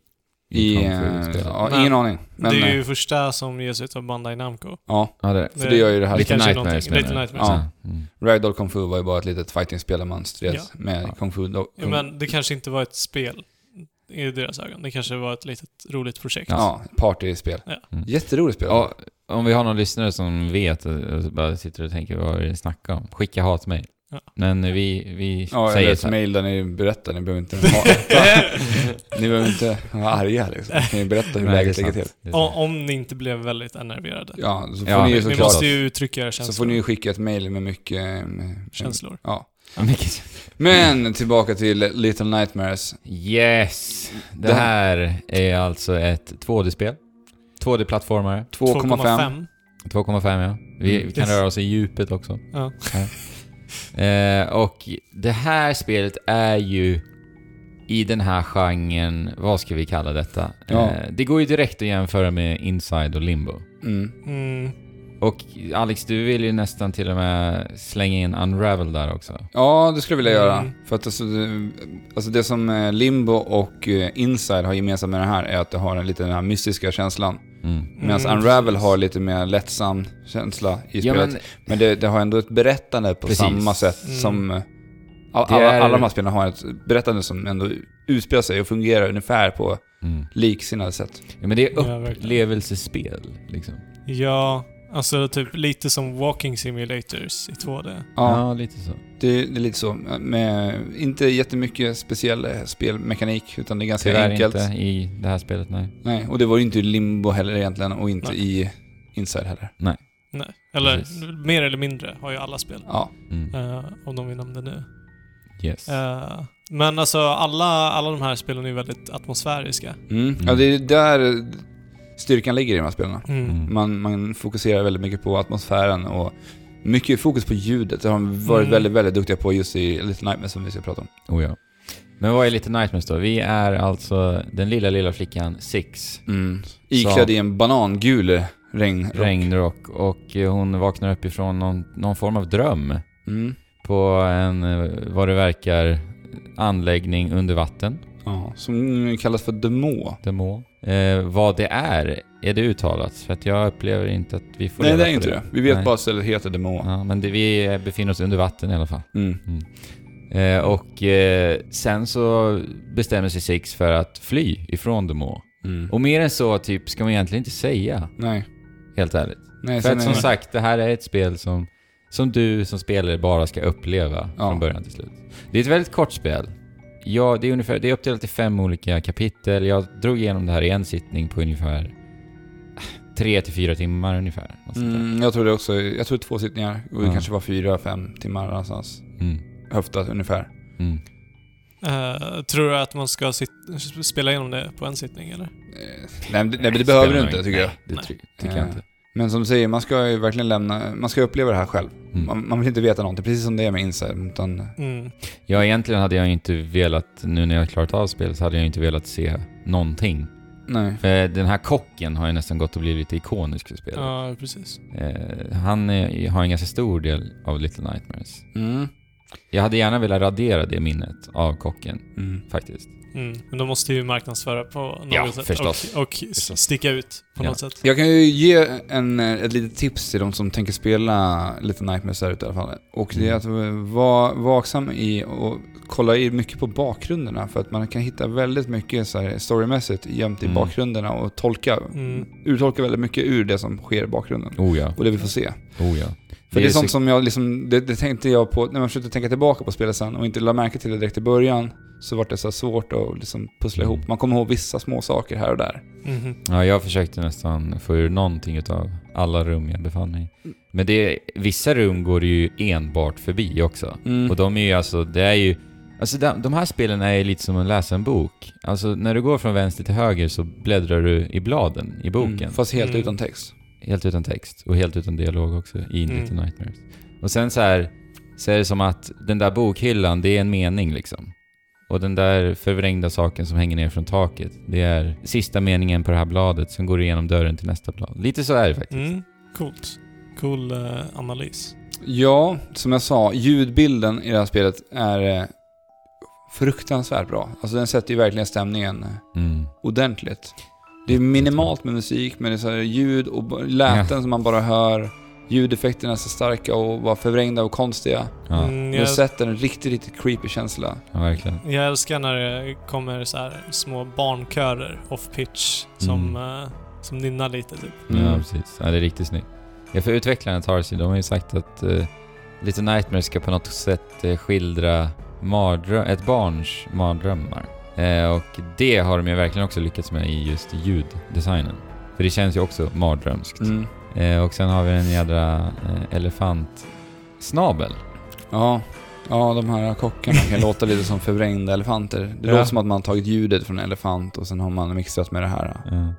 I, Kung eh, Fu-spelet. ja, Men- ingen aning. Men, det är eh, ju första som ges ut av Bandai Namco. ja, Ja, det är det. för det gör ju det här. Det Little kanske är Nightmares någonting. menar Little du? Nightmares. Ja. Mm. Ragdoll Kung Fu var ju bara ett litet fighting-spel där man stred Ja. med Kung Fu. Då, Ja, men det kanske inte var ett spel i deras ögon. Det kanske var ett litet roligt projekt. ja, partyspel. Ja. Mm. Jätteroligt spel. Ja, om vi har någon lyssnare som vet och bara sitter och tänker vad är det ni snackar om? Skicka hatmejl. Ja. Men vi, vi Ja, eller säger ett så här. mail där ni berättar, ni behöver inte, ha, ni behöver inte vara arga liksom. Ni kan ju berätta hur Nej, läget det är ligger till. sant. Det är O- sant. Om ni inte blev väldigt enerverade. Ja, så får Ja, ni ju vi- vi Ni såklart... måste ju uttrycka era Så känslor. får ni ju skicka ett mail med mycket... eh, med- känslor. Ja. Ja, mycket- Men tillbaka till Little Nightmares. Yes! Det Det här är alltså ett 2D-spel. 2D-plattformare. 2,5. 2,5 ja. Vi Mm. kan Yes. röra oss i djupet också. Ja. Eh, och det här spelet är ju i den här genren, vad ska vi kalla detta? Ja. Eh, det går ju direkt att jämföra med Inside och Limbo. Mm. Mm. Och Alex, du vill ju nästan till och med slänga in Unravel där också. Ja, det skulle jag vilja göra. Mm. För att alltså, det- alltså det som eh, Limbo och eh, Inside har gemensamt med den här är att det har en lite den här mystiska känslan. Mm. Medan Mm, Unravel precis. har lite mer lättsam känsla i Ja, spelet. men men det, det har ändå ett berättande på Precis. samma sätt Mm. som... eh, All, Det alla, är- alla de här spelen har ett berättande som ändå utspelar sig och fungerar ungefär på Mm. liksinnade sätt. Ja, men det är Ja, verkligen. upplevelsespel, liksom. Ja, alltså typ lite som Walking Simulators i 2D. Ja. Alltså, Ja, lite så. Det, det är lite så. Med, inte jättemycket speciell eh, spelmekanik, utan det är ganska Tyvärr enkelt. inte i det här spelet, nej. Nej, och det var ju inte i limbo heller egentligen, och inte Nej. i Inside heller. Nej. Eller Precis. mer eller mindre har ju alla spel. Ja, Mm. eh, om de vi nämnde nu. Yes. Eh, men alltså alla, alla de här spelen är ju väldigt atmosfäriska. mm. ja det är där styrkan ligger i de här spelen. Mm. Mm. Man, man fokuserar väldigt mycket på atmosfären och mycket fokus på ljudet. Det har de varit Mm. väldigt, väldigt duktiga på just i Little Nightmares som vi ska prata om. Oh, ja. Men vad är lite Nightmares då? Vi är alltså den lilla, lilla flickan Six, Mm. Iklädd i en banangul regnrock. regnrock, och eh, hon vaknar upp ifrån någon, någon form av dröm Mm. på en, eh, vad det verkar, anläggning under vatten, Ja, som kallas för Demo. demo. Eh, vad det är, är det uttalat? För att jag upplever inte att vi får Nej, reda det är på inte det. Vi vet Nej. bara att stället heter Demo. Ja, men det, vi befinner oss under vatten i alla fall. Mm. Eh, och eh, sen så bestämmer sig Six för att fly ifrån Demo. Mm. Och mer än så typ ska man egentligen inte säga, Nej. helt ärligt. Nej, För sen att är som det- sagt, det här är ett spel som, som du som spelare bara ska uppleva Ja. från början till slut. Det är ett väldigt kort spel. Ja, det är, ungefär, det är uppdelat i fem olika kapitel. Jag drog igenom det här i en sittning på ungefär eh, tre till fyra timmar ungefär. Något sånt där. Mm, jag tror det också. Jag tror två sittningar. Och det Ja. kanske var fyra, fem timmar någonstans. Mm. Höftat ungefär. Mm. Eh, tror du att man ska sit- spela igenom det på en sittning eller? Eh, Nej, men det, nej, men det behöver du Spelar inte nog tycker jag. Nej, det Nej. ty- tycker jag Eh, inte. Men som du säger, man ska ju verkligen lämna... Man ska uppleva det här själv. Mm. Man, man vill inte veta någonting, precis som det är med Inside. Utan, Mm. Ja, egentligen hade jag inte velat, nu när jag har klarat av spelet, så hade jag inte velat se någonting. nej. För den här kocken har ju nästan gått och blivit lite ikonisk för spelet. Ja, precis. Eh, han är, har en ganska stor del av Little Nightmares. Mm. Jag hade gärna velat radera det minnet av kocken, Mm. faktiskt. Mm. Men de måste ju marknadsföra på något Ja, sätt. förstås. Och, och s- sticka ut på Ja. något sätt. Jag kan ju ge en, eh, ett litet tips till de som tänker spela lite Nightmares där ute i alla fall. Och det Mm. är att eh, vara vaksam i och kolla i mycket på bakgrunderna. För att man kan hitta väldigt mycket så här storymässigt gömt i Mm. bakgrunderna och tolka, Mm. urtolka väldigt mycket ur det som sker i bakgrunden. Oh ja, Och det vi får se. oh ja. För det är, ju sånt så- som jag liksom, det, det tänkte jag på när man försökte tänka tillbaka på spelet sen och inte la märke till det direkt i början. så vart det så här svårt att liksom pussla Mm. ihop. Man kommer ihåg vissa små saker här och där. Mhm. Ja, jag försökte nästan få ur någonting utav alla rum jag befann mig i. Mm. Men det, vissa rum går det ju enbart förbi också. Mm. Och de är ju alltså, det är ju... Alltså de, de här spelen är ju lite som att läsa en bok. Alltså när du går från vänster till höger så bläddrar du i bladen i boken. Mm, fast helt Mm. utan text. Helt utan text och helt utan dialog också i Mm. Little Nightmares. Och sen så här, så är det som att den där bokhyllan, det är en mening liksom. Och den där förvrängda saken som hänger ner från taket, det är sista meningen på det här bladet som går igenom dörren till nästa blad. Lite så är det faktiskt. Mm. Coolt. Cool eh, analys. Ja, som jag sa, ljudbilden i det här spelet är eh, fruktansvärt bra. Alltså den sätter ju verkligen stämningen eh, Mm. ordentligt. Det är minimalt med musik, men det är så här ljud och b- läten som man bara hör. Ljudeffekterna är så starka och var förvrängda och konstiga. Ja, Mm, Men jag, sätter en riktigt, riktigt creepy känsla. ja, verkligen. jag älskar när det kommer så här små barnkörer off-pitch som, Mm. eh, som nynnar lite typ. Ja, precis. Ja, det är riktigt snyggt. Ja, för utvecklarna Tarsi, de har ju sagt att uh, Little Nightmares ska på något sätt eh, skildra mardrö- ett barns mardrömmar. Eh, och det har de ju verkligen också lyckats med i just ljuddesignen. För det känns ju också mardrömskt. Mm. Eh, och sen har vi en jädra eh, elefantsnabel. Ja. ja, de här kockarna kan låta lite som förvrängda elefanter. Det Ja. låter som att man har tagit ljudet från en elefant och sen har man mixat med det här. Ja.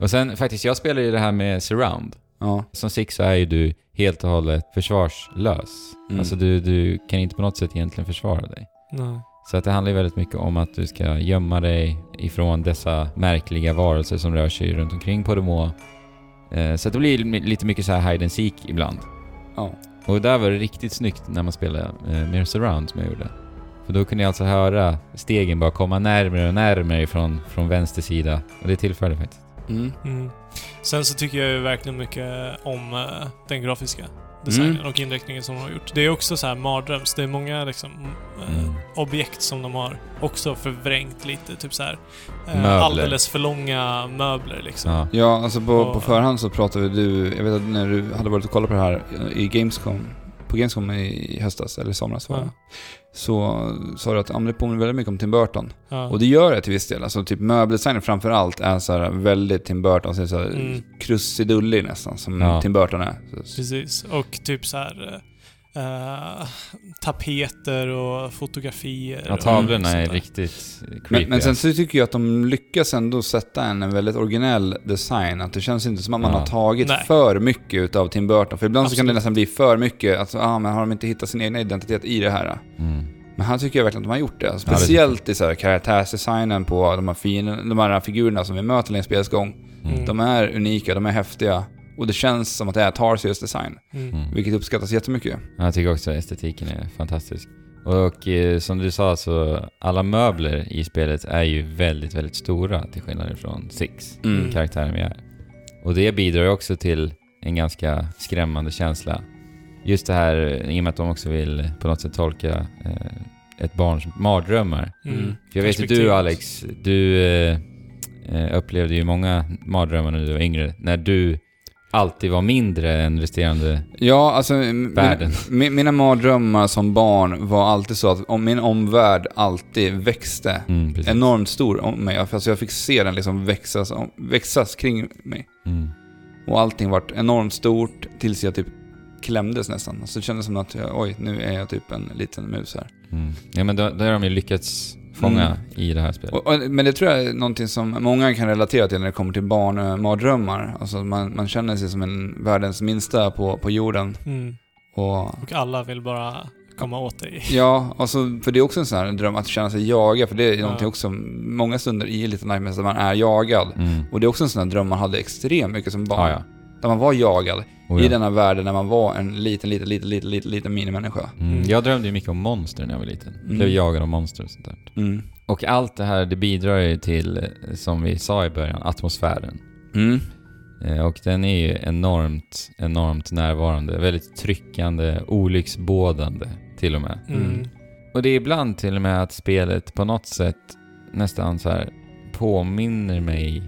Och sen faktiskt, jag spelar ju det här med surround. Ja, Som Six så är ju du helt och hållet försvarslös. Mm. Alltså du, du kan inte på något sätt egentligen försvara dig. Nej. Så att det handlar ju väldigt mycket om att du ska gömma dig ifrån dessa märkliga varelser som rör sig runt omkring på Demoa. Eh, Så att det blir li- lite mycket så här hide and seek ibland. ja. Och där var det riktigt snyggt när man spelade eh, Mirror Surround som jag gjorde. För då kunde jag alltså höra stegen bara komma närmare och närmare från, från vänster sida. Och det tillförde faktiskt. Mm. Mm. Sen så tycker jag ju verkligen mycket om eh, den grafiska designen Mm. och inriktningen som de har gjort. Det är också så här mardröms. Det är många liksom, eh, Mm. objekt som de har också förvrängt lite. Typ så här, eh, Möbler. alldeles för långa möbler liksom. Ja. Ja, alltså på, Och- på förhand så pratade du, jag vet att när du hade varit och kollat på det här i Gamescom, på Gamescom i höstas, eller i somras var det, Ja. så sa du att ja, men det påminner väldigt mycket om Tim Burton. Ja. Och det gör det till viss del. Alltså typ möbeldesignen framför allt är så här väldigt Tim Burton, så, är det så här Mm. krusidullig nästan, som Ja. Tim Burton är. Så, Precis. Och typ så här eh, eh, tapeter och fotografier. Ja, och tavlorna sånt är där. riktigt creepy. men, men sen alltså. så tycker jag att de lyckas ändå sätta en, en väldigt originell design. Att det känns inte som att man Ja. har tagit Nej. för mycket utav Tim Burton. För ibland så kan det Absolut. nästan bli för mycket. Alltså, ah, men har de inte hittat sin egna identitet i det här? då? Mm. Men här tycker jag verkligen att de har gjort det. det Speciellt i så här karaktärsdesignen på de här, fin- de här figurerna som vi möter längs spelets gång. Mm. De är unika, de är häftiga. Och det känns som att det är Tarsius design. Mm. Mm. Vilket uppskattas jättemycket. Ja, Jag tycker också att estetiken är fantastisk. Och eh, som du sa så alla möbler i spelet är ju väldigt, väldigt stora till skillnad från Six, Mm. Mm. karaktären vi är. Och det bidrar ju också till en ganska skrämmande känsla. Just det här eh, i och med att de också vill på något sätt tolka eh, ett barns mardrömmar. Mm. För jag vet ju du Perspektivet. Alex, du eh, eh, upplevde ju många mardrömmar när du var yngre. När du alltid var mindre än resterande... Ja, alltså... m- Världen. Mina, mi- mina mardrömmar som barn var alltid så att om min omvärld alltid växte Mm, precis. enormt stor om mig. Alltså jag fick se den liksom växas, om- växas kring mig. Mm. Och allting vart enormt stort tills jag typ klämdes nästan. Alltså det kändes som att jag, oj, nu är jag typ en liten mus här. Mm. Ja men då, då har de ju lyckats fånga Mm. i det här spelet. Och, och, men det tror jag är någonting som många kan relatera till när det kommer till barnmardrömmar. Alltså man, man känner sig som en världens minsta på, på jorden. Mm. Och, Och alla vill bara komma åt dig. ja, alltså, för det är också en sån här dröm att känna sig jagad. För det är Ja. någonting också, många stunder i Little Nightmares där man är jagad. Mm. Och det är också en sån här dröm man hade extremt mycket som Ja, barn. ja. Där man var jagad Oh, i ja. den här världen när man var en liten, liten, liten, liten, liten, liten minimänniska. Mm. Jag drömde ju mycket om monster när jag var liten. Mm. Blev jagad av monster och sånt där. Mm. Och allt det här, det bidrar ju till, eh, som vi sa i början, atmosfären. Mm. Eh, Och den är ju enormt, enormt närvarande. Väldigt tryckande, olycksbådande till och med. Mm. Och det är ibland till och med att spelet på något sätt nästan så här påminner mig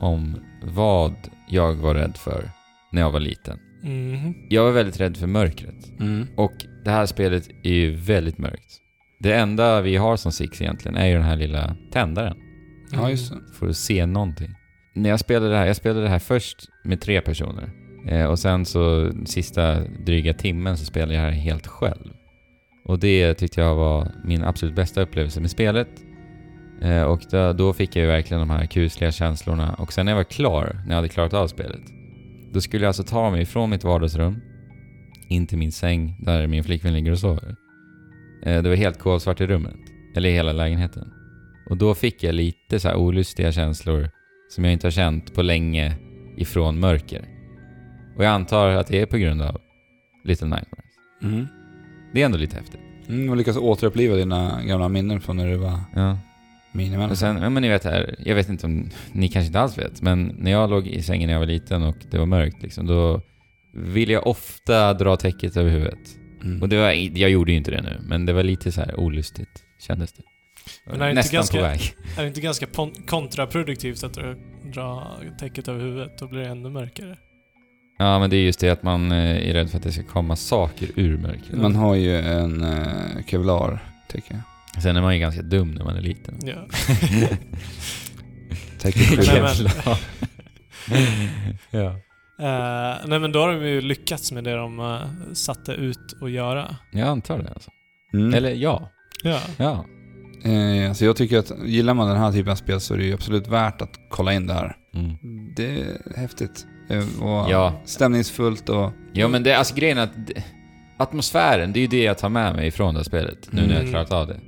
om vad jag var rädd för när jag var liten. Mhm. Jag var väldigt rädd för mörkret. Mm. Och det här spelet är ju väldigt mörkt. Det enda vi har som Six egentligen är ju den här lilla tändaren. Mm. Ja, just det. För att se någonting. När jag spelade det här, jag spelade det här först med tre personer. Eh, och sen så sista dryga timmen så spelade jag det här helt själv. Och det tyckte jag var min absolut bästa upplevelse med spelet. Eh, och då, då fick jag ju verkligen de här kusliga känslorna. Och sen när jag var klar, när jag hade klarat av spelet. Då skulle jag alltså ta mig från mitt vardagsrum in till min säng där min flickvän ligger och sover. Eh, Det var helt kolsvart i rummet. Eller i hela lägenheten. Och då fick jag lite så här olustiga känslor som jag inte har känt på länge ifrån mörker. Och jag antar att det är på grund av Little Nightmares. Mm. Det är ändå lite häftigt. Mm, och lyckas återuppliva dina gamla minnen från när du var Ja. minimänniska. Och sen, ja, men ni vet här, jag vet inte om, ni kanske inte alls vet, men när jag låg i sängen när jag var liten och det var mörkt liksom, då ville jag ofta dra täcket över huvudet. Mm. Och det var, jag gjorde ju inte det nu, men det var lite så här olustigt kändes det. Men är det inte Nästan ganska- på väg. Är det inte ganska pon- kontraproduktivt att dra, dra täcket över huvudet? Då blir det ännu mörkare. Ja, men det är just det att man eh, är rädd för att det ska komma saker ur mörkret. Man har ju en eh, kevlar, tycker jag. Sen är man ju ganska dum när man är liten. Ja. Täcker Nej, skyddet. men- Jävlar. ja. Eh, nej men då har de ju lyckats med det de eh, satte ut att göra. Jag antar det alltså. Mm. Eller ja. Ja. Ja. Eh, alltså jag tycker att gillar man den här typen av spel så är det ju absolut värt att kolla in det här. Mm. Det är häftigt. Eh, Och Ja. Stämningsfullt och... Ja, men det, alltså grejen är att det, atmosfären, det är ju det jag tar med mig ifrån det här spelet. Nu när jag Mm. har klarat av det.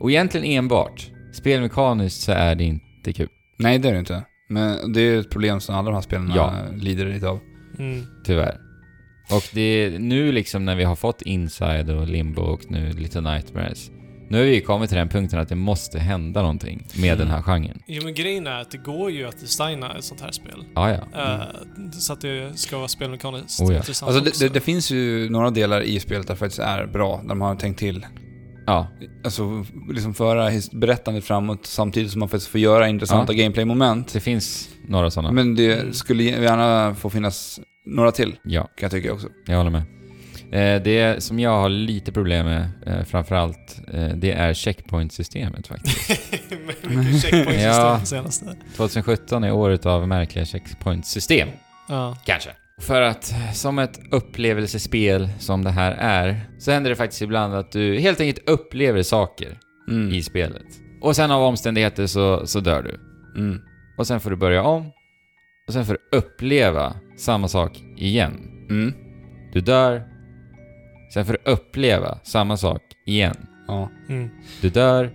Och egentligen enbart, spelmekaniskt så är det inte kul, Nej, det är det inte. Men det är ett problem som alla de här spelen Ja. lider lite av. Mm. tyvärr. Och det, nu liksom när vi har fått Inside och Limbo och nu Little Nightmares. Nu har vi ju kommit till den punkten att det måste hända någonting med den här genren. Jo men grejen är att det går ju att designa ett sånt här spel. Ah, ja. Eh, Så att det ska vara spelmekaniskt Oh ja. intressant Alltså det, också. det, det finns ju några delar i spelet där faktiskt är bra, där man har tänkt till. ja. Alltså liksom föra his- berättandet framåt samtidigt som man faktiskt får göra intressanta gameplay-moment. Det finns några sådana. Men Mm. det skulle gärna få finnas några till, Ja, kan jag tycka också. jag håller med. Eh, Det som jag har lite problem med eh, framförallt, eh, det är checkpointsystemet faktiskt. Med mycket checkpoints Ja. ja. senaste. 2017 är året av märkliga checkpointsystem. Ja. Kanske. För att eh, som ett upplevelsespel som det här är, så händer det faktiskt ibland att du helt enkelt upplever saker Mm. i spelet. Och sen av omständigheter så, så dör du. Mm. Och sen får du börja om. Och sen får du uppleva samma sak igen. Mm. Du dör. Sen får du uppleva samma sak igen. Ja. Mm. Du dör.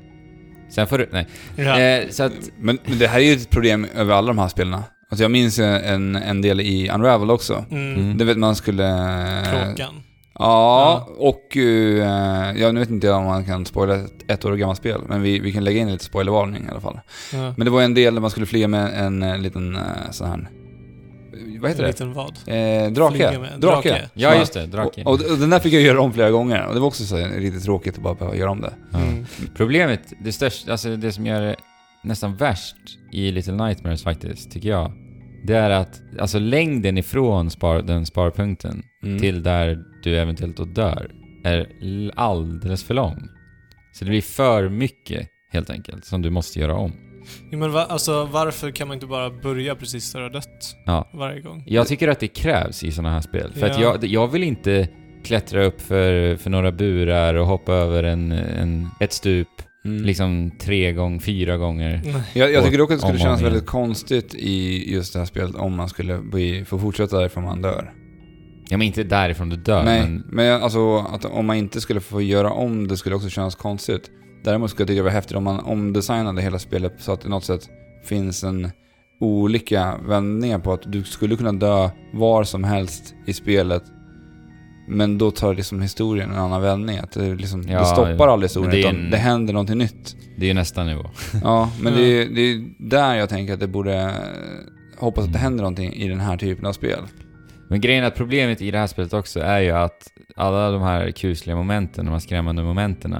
Sen får du... Nej. ja. Eh, så att... Men, men det här är ju ett problem över alla de här spelen. Alltså jag minns en, en del i Unravel också. Mm. Det vet man skulle... Kråkan. Ja, och eh, ja, nu vet inte jag om man kan spoila ett, ett år gammalt spel, men vi, vi kan lägga in lite spoilervarning i alla fall. Ja. Men det var en del där man skulle flyga med en eh, liten eh, sån här... eh, Vad heter En det? liten vad. Eh, drake. Flyga med en Drake. drake. Ja, just det. Drake. Och, och, och den där fick jag göra om flera gånger och det var också så här, riktigt tråkigt att bara behöva göra om det. Ja. Mm. Problemet, det största, alltså det som gör det nästan värst i Little Nightmares faktiskt, tycker jag, det är att alltså längden ifrån spar, den sparpunkten Mm. till där du eventuellt då dör är l- alldeles för lång. Så det blir för mycket helt enkelt som du måste göra om. Jo, men va, alltså, varför kan man inte bara börja precis där du har dött? Ja. Varje gång. Jag tycker att det krävs i sådana här spel. För att Ja. jag, jag vill inte klättra upp för, för några burar och hoppa över en, en, ett stup Mm. liksom tre gånger, fyra gånger. Nej. Jag, jag Och tycker dock att det skulle om och om kännas igen. väldigt konstigt i just det här spelet om man skulle bli, få fortsätta därifrån man dör. Ja men inte därifrån du dör, Nej, men men, jag- alltså att om man inte skulle få göra om det skulle också kännas konstigt. Däremot skulle jag tycka det var häftigt om man omdesignade hela spelet så att det något sätt finns en olika vändningar på att du skulle kunna dö var som helst i spelet. Men då tar liksom historien en annan vändning. Att det, liksom, Ja, det stoppar aldrig historien, men det det, är utan en- det händer någonting nytt. Det är ju nästa nivå. Ja, men Ja. det är, det är där jag tänker att det borde... eh, Hoppas att det Mm. händer någonting i den här typen av spel. Men grejen är att problemet i det här spelet också är ju att alla de här kusliga momenten, de här skrämmande momenten,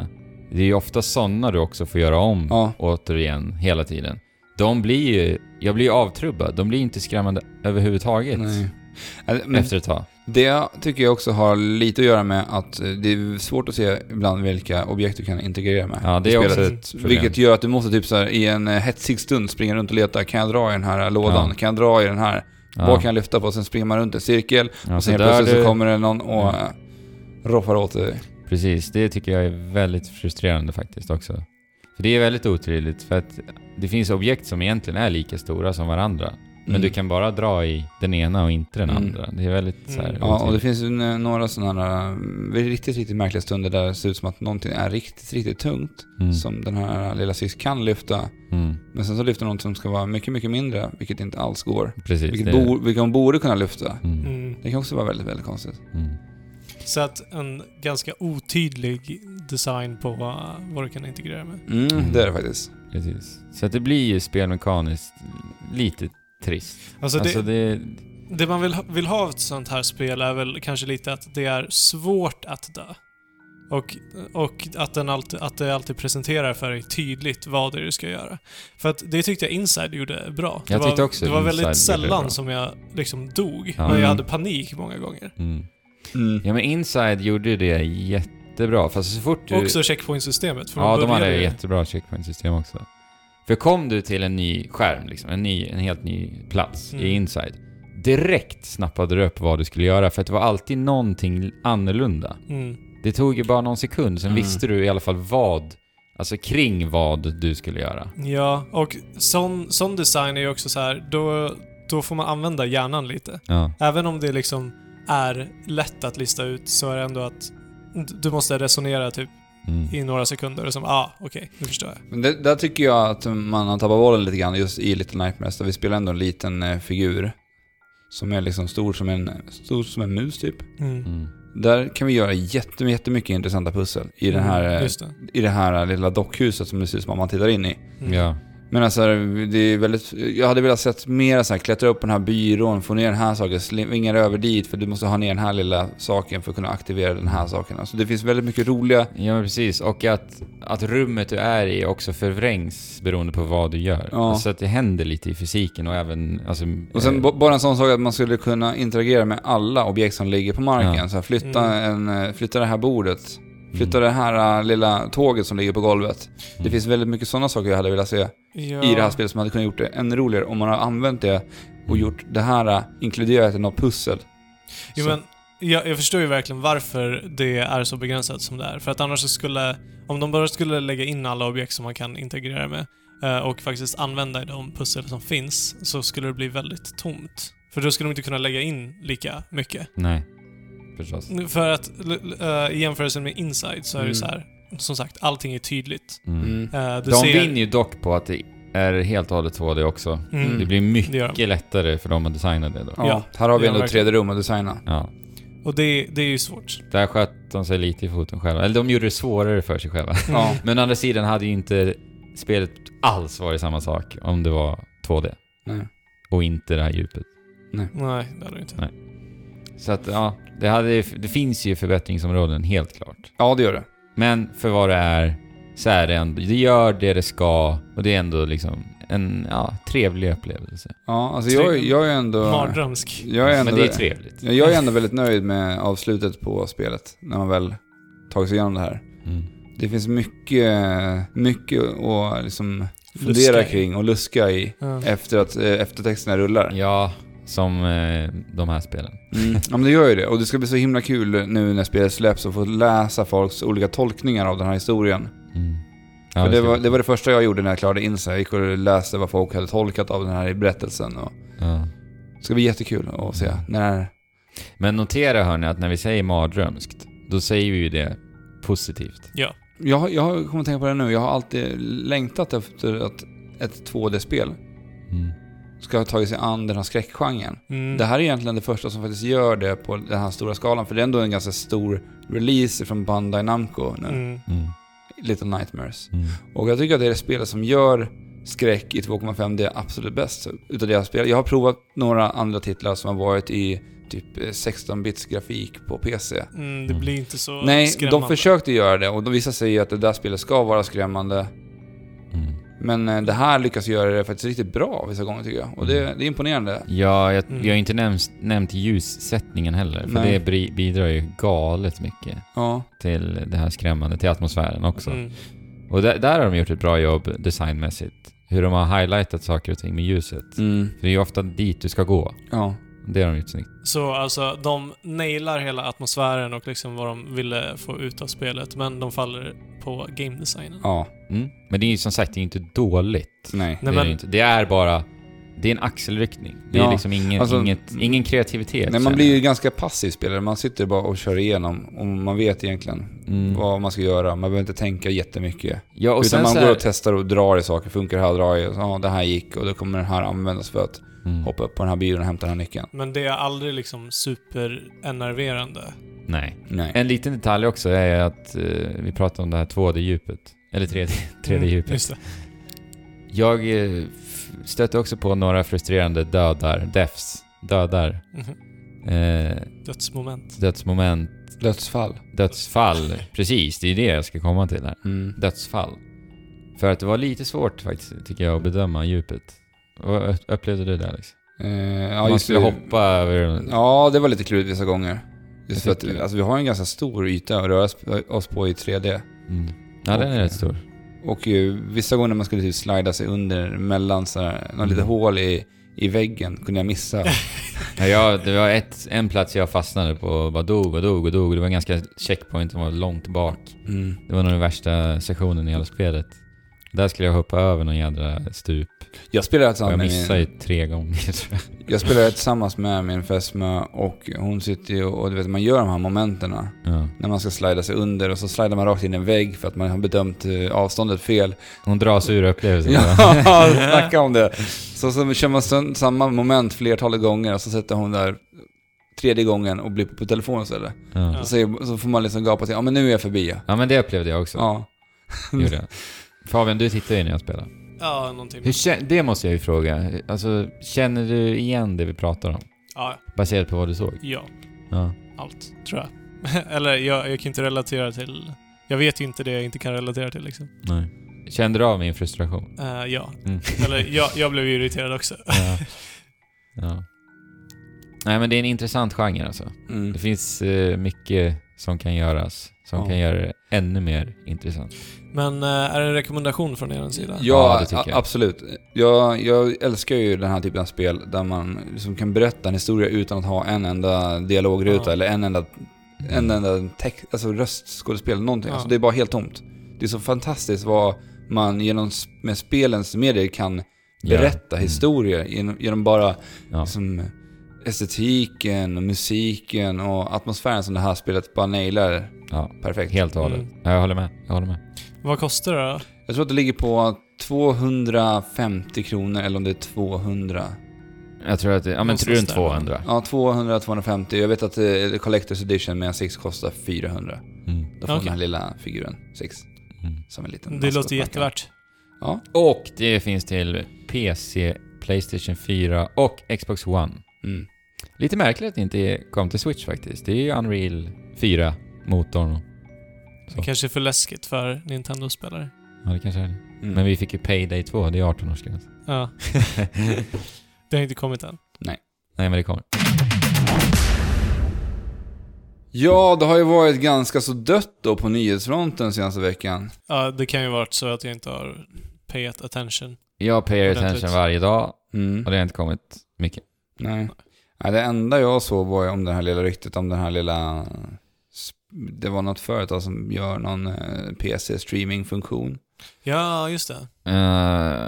det är ju ofta sådana du också får göra om Ja. återigen hela tiden. De blir ju, jag blir ju avtrubbad, de blir inte skrämmande överhuvudtaget. Nej. Eh, Men efter ett tag. Det tycker jag också har lite att göra med att eh, det är svårt att se ibland vilka objekt du kan integrera med. Ja, det i är spelet. också ett problem. Vilket gör att du måste typ så här, i en eh, hetsig stund springa runt och leta. Kan jag dra i den här eh, lådan? Ja. Kan jag dra i den här? ja. Vad kan jag lyfta på? Sen springer man runt en cirkel ja, och sen helt där plötsligt du- Mm. så kommer det någon och Ja. eh, roffar åt dig. Precis, det tycker jag är väldigt frustrerande faktiskt också. För det är väldigt otrevligt för att det finns objekt som egentligen är lika stora som varandra. Men Mm. du kan bara dra i den ena och inte den Mm. andra. Det är väldigt så här Mm. Ja, och det otrevligt. finns ju n- några sådana här eh, riktigt, riktigt märkliga stunder där det ser ut som att någonting är riktigt, riktigt tungt. mm. Som den här lilla sys kan lyfta. Mm. Men sen så lyfter något som ska vara mycket, mycket mindre, vilket inte alls går. Precis. Vilket, det- bo, vilket hon borde kunna lyfta. Mm. Mm. Det kan också vara väldigt, väldigt konstigt. Mm. Så att en ganska otydlig design på vad, vad du kan integrera med. Mm, Mm. Det är det faktiskt. Precis. Så att det blir ju spelmekaniskt lite trist. Alltså det, alltså det... det man vill, ha- vill ha av ett sånt här spel är väl kanske lite att det är svårt att dö. Och, och att, den alltid, att det alltid presenterar för dig tydligt vad det är du ska göra. För att det tyckte jag Inside gjorde bra. Det Jag tyckte var, också Det var Inside väldigt gjorde det bra. sällan som jag liksom dog. Ja. Men jag Mm. hade panik många gånger. Mm. Ja men Inside gjorde ju det jättebra. Fast så fort du... Också checkpoint-systemet. För Ja, man de hade började ett ju- jättebra checkpoint-system också. För kom du till en ny skärm, liksom, en, ny, en helt ny plats Mm. i Inside, direkt snappade du upp vad du skulle göra för att det var alltid någonting annorlunda. Mm. Det tog ju bara någon sekund, sen Mm. visste du i alla fall vad, alltså kring vad du skulle göra. Ja, och sån, sån design är ju också så här, då, då får man använda hjärnan lite. Ja. Även om det liksom är lätt att lista ut så är det ändå att d- du måste resonera typ Mm. i några sekunder och som ah, okej, nu förstår jag. Men det, där tycker jag att man har tappat bollen lite grann just i Little Nightmares. Där vi spelar ändå en liten eh, figur. Som är liksom stor som en, stor som en mus typ. Mm. Mm. Där kan vi göra jätte, jättemycket intressanta pussel. I, den Mm, här, eh, Just det. I det här lilla dockhuset som det ser ut som att man tittar in i. Mm. Ja. Men alltså, det är väldigt... Jag hade velat sett mer så här, klättra upp på den här byrån, få ner den här saken, svinga över dit för du måste ha ner den här lilla saken för att kunna aktivera den här saken. Alltså det finns väldigt mycket roliga... ja, men precis. Och att, att rummet du är i också förvrängs beroende på vad du gör. Ja. Så att det händer lite i fysiken och även... Alltså, Och sen eh, b- bara en sån sak att man skulle kunna interagera med alla objekt som ligger på marken. Ja. Så här, flytta, en, eh, flytta det här bordet, flytta det här eh, lilla tåget som ligger på golvet. Det Mm. finns väldigt mycket sådana saker jag hade velat se Ja. i det här spelet som hade kunnat gjort det ännu roligare om man har använt det och Mm. gjort det här eh, inkluderat i något pussel. Jo, men jag, jag förstår ju verkligen varför det är så begränsat som det är. För att annars så skulle, om de bara skulle lägga in alla objekt som man kan integrera med eh, och faktiskt använda i de pussel som finns, så skulle det bli väldigt tomt. För då skulle de inte kunna lägga in lika mycket. Mm. Nej, förstås. Nu, För att l- l- eh, i jämförelse med Inside så är det Mm. så här, som sagt, allting är tydligt. Mm. Mm. Eh, du De ser, vinner ju dock på att det är helt och hållet 2D också. Mm. Det blir Det gör mycket de. lättare för dem att designa det då. Ja, Mm. Ja, här har vi ja, ändå ett verkligen. tredje rum att designa. Ja. Och det, det är ju svårt. Där sköt de sig lite i foten själva. Eller de gjorde det svårare för sig själva. Ja. Men å andra sidan hade ju inte spelet alls varit samma sak om det var 2D Nej. och inte det här djupet. Nej, det hade du inte. Så att ja, det, hade, det finns ju förbättringsområden helt klart. Ja, det gör det. Men för vad det är så är det ändå, det gör det det ska och det är ändå liksom en ja, trevlig upplevelse. Ja, alltså jag, jag är ändå... Mardrömsk. Jag är ändå, Men det är trevligt. Ja, jag är ändå väldigt nöjd med avslutet på spelet, när man väl tagit sig igenom det här. Mm. Det finns mycket, mycket att liksom Luska fundera i. kring och luska i Ja. efter att eh, eftertexterna rullar. Ja, som eh, de här spelen. Mm. Ja, men det gör ju det. Och det ska bli så himla kul nu när spelet släpps och få läsa folks olika tolkningar av den här historien. Mm. Ja, För det, ska- var, det var det första jag gjorde när jag klarade in sig. Jag gick och läste vad folk hade tolkat av den här berättelsen. Och ja. det ska bli jättekul att se när Men notera hörni att när vi säger mardrömskt, då säger vi ju det positivt. Jag, har- jag har- kommer att tänka på det nu. Jag har alltid längtat efter att ett 2D-spel Mm. ska ha tagit sig an den här skräckgenren. Mm. Det här är egentligen det första som faktiskt gör det på den här stora skalan. För det är ändå en ganska stor release från Bandai Namco nu. Mm. Mm. Little Nightmares. Mm. Och jag tycker att det är det spelet som gör skräck i 2,5D absolut bäst utav det jag har spelat. Jag har provat några andra titlar som har varit i typ eh, 16-bits grafik på PC. Mm, det blir inte så Nej, skrämmande. de försökte göra det och de visade sig att det där spelet ska vara skrämmande. Mm. Men eh, det här lyckas göra det faktiskt riktigt bra vissa gånger tycker jag. Och det, det är imponerande. Ja, jag, Mm. jag har inte nämnt, nämnt ljussättningen heller, för Nej. det bri, bidrar ju galet mycket Ja. till det här skrämmande, till atmosfären också. Mm. Och där, där har de gjort ett bra jobb designmässigt. Hur de har highlightat saker och ting med ljuset. Mm. För det är ju ofta dit du ska gå. Ja. Det har de gjort snyggt. Så alltså, de nailar hela atmosfären och liksom vad de ville få ut av spelet, men de faller på gamedesignen. Ja. Mm. Men det är ju som sagt det är inte dåligt. Nej. Det Nej, är, det men, inte. det är bara... Det är en axelryckning. Det är Ja, liksom ingen, alltså- inget, ingen kreativitet. Nej, känner man blir ju jag. ganska passiv spelare. Man sitter bara och kör igenom och man vet egentligen Mm. vad man ska göra. Man behöver inte tänka jättemycket. Ja, och Utan sen man så går här, och testar och drar i saker. Funkar det här? Drar jag? Ja, det här gick och då kommer den här användas för att mm. hoppa upp på den här bilen och hämta den här nyckeln. men det är aldrig liksom superenerverande. Nej. Nej. En liten detalj också är att eh, vi pratade om det här 2D-djupet. Eller 3D, Mm. 3D-djupet. Mm, Just det. Jag eh, f- stötte också på några frustrerande dödar, deaths, dödar, Mhm. eh, Dödsmoment. dödsmoment, Dödsfall. dödsfall. Precis, det är det jag ska komma till här. Mm. Dödsfall. För att det var lite svårt faktiskt, tycker jag, att bedöma djupet. Vad ö- upplevde du det Alex? Eh, ja, Man just skulle det. hoppa över... Ja, det var lite klurigt vissa gånger. Just för Jag att tycker det. alltså, vi har en ganska stor yta att röra sp- oss på i 3D. Mm. Ja, den är rätt stor. Och ju, vissa gånger när man skulle typ slida sig under mellan sådär, någon Mm. litet hål i, i väggen kunde jag missa. Ja, jag, det var ett, en plats jag fastnade på och bara dog och dog och dog. Det var en ganska checkpoint som var långt bak. Mm. Det var nog den värsta sessionen i hela spelet. Där skulle jag hoppa över någon jädra stup. Jag spelade Och tillsammans jag med missade ju min, tre gånger tror jag. jag spelade tillsammans med min fästmö och hon sitter ju och du vet man gör de här momenten Ja. när man ska slida sig under och så slidar man rakt in i en vägg för att man har bedömt eh, avståndet fel. Hon dras ur upplevelsen. bara. Ja, snacka om det. Så, så kör man sön- samma moment flertalet gånger och så sätter hon där tredje gången och blir på telefonen istället. Ja. Så, säger, så får man liksom gapa till, ja men nu är jag förbi ja. ja, men det upplevde jag också. ja. Gjorde jag. Fabian, du tittar ju när jag spelar. Ja, någonting. Hur kä- det måste jag ju fråga. Alltså, känner du igen det vi pratar om? Ja, Baserat på vad du såg? ja. Ja. Allt, tror jag. Eller jag, jag kan inte relatera till... Jag vet ju inte det jag inte kan relatera till liksom. Nej. Kände du av min frustration? Eh, ja. Mm. Eller jag, jag blev ju irriterad också. Ja. ja. Nej, men det är en intressant genre alltså. Mm. Det finns eh, mycket som kan göras. Som Ja. kan göra det ännu mer intressant. Men eh, är det en rekommendation från er sida? Ja, Ja, det tycker a- jag. absolut. Jag, jag älskar ju den här typen av spel där man liksom kan berätta en historia utan att ha en enda dialogruta Ja. eller en enda, Mm. en enda text, alltså röstskådespel, någonting. Ja. Alltså, det är bara helt tomt. Det är så fantastiskt vad man genom sp- med spelens medier kan berätta Mm. historier genom, genom bara Ja. liksom, estetiken, och musiken och atmosfären som det här spelet bara nailar Ja. perfekt. Helt och hållet. Mm. Ja, jag håller med. Jag håller med. Vad kostar det då? Jag tror att det ligger på 250 kronor eller om det är 200. Jag tror att det, ja men Någonstans tror du en där. 200? Ja, 200-250. Jag vet att eh, Collector's Edition med en 6 kostar 400. Mm. Då får man Okej. den här lilla figuren, 6, Mm. som en liten... Det maskot låter man kan- jättevärt. Ja. Och det finns till PC, Playstation 4 och Xbox One. Mm. Lite märkligt att det inte kom till Switch faktiskt. Det är ju Unreal 4-motorn. och- Det kanske är för läskigt för Nintendo-spelare. Ja, det kanske är det. Mm. Men vi fick ju Payday 2, det är 18-årsgräns. Ja. det har inte kommit än. Nej, men det kommer. Ja, det har ju varit ganska så dött då på nyhetsfronten senaste veckan. Ja, det kan ju varit så att jag inte har payat attention. Jag payar Ordentligt. attention varje dag Mm. och det har inte kommit mycket. Nej. Nej, det enda jag såg var ju om det här lilla ryktet om den här lilla... sp- Det var något företag som gör någon eh, PC-streaming-funktion. Ja, just det.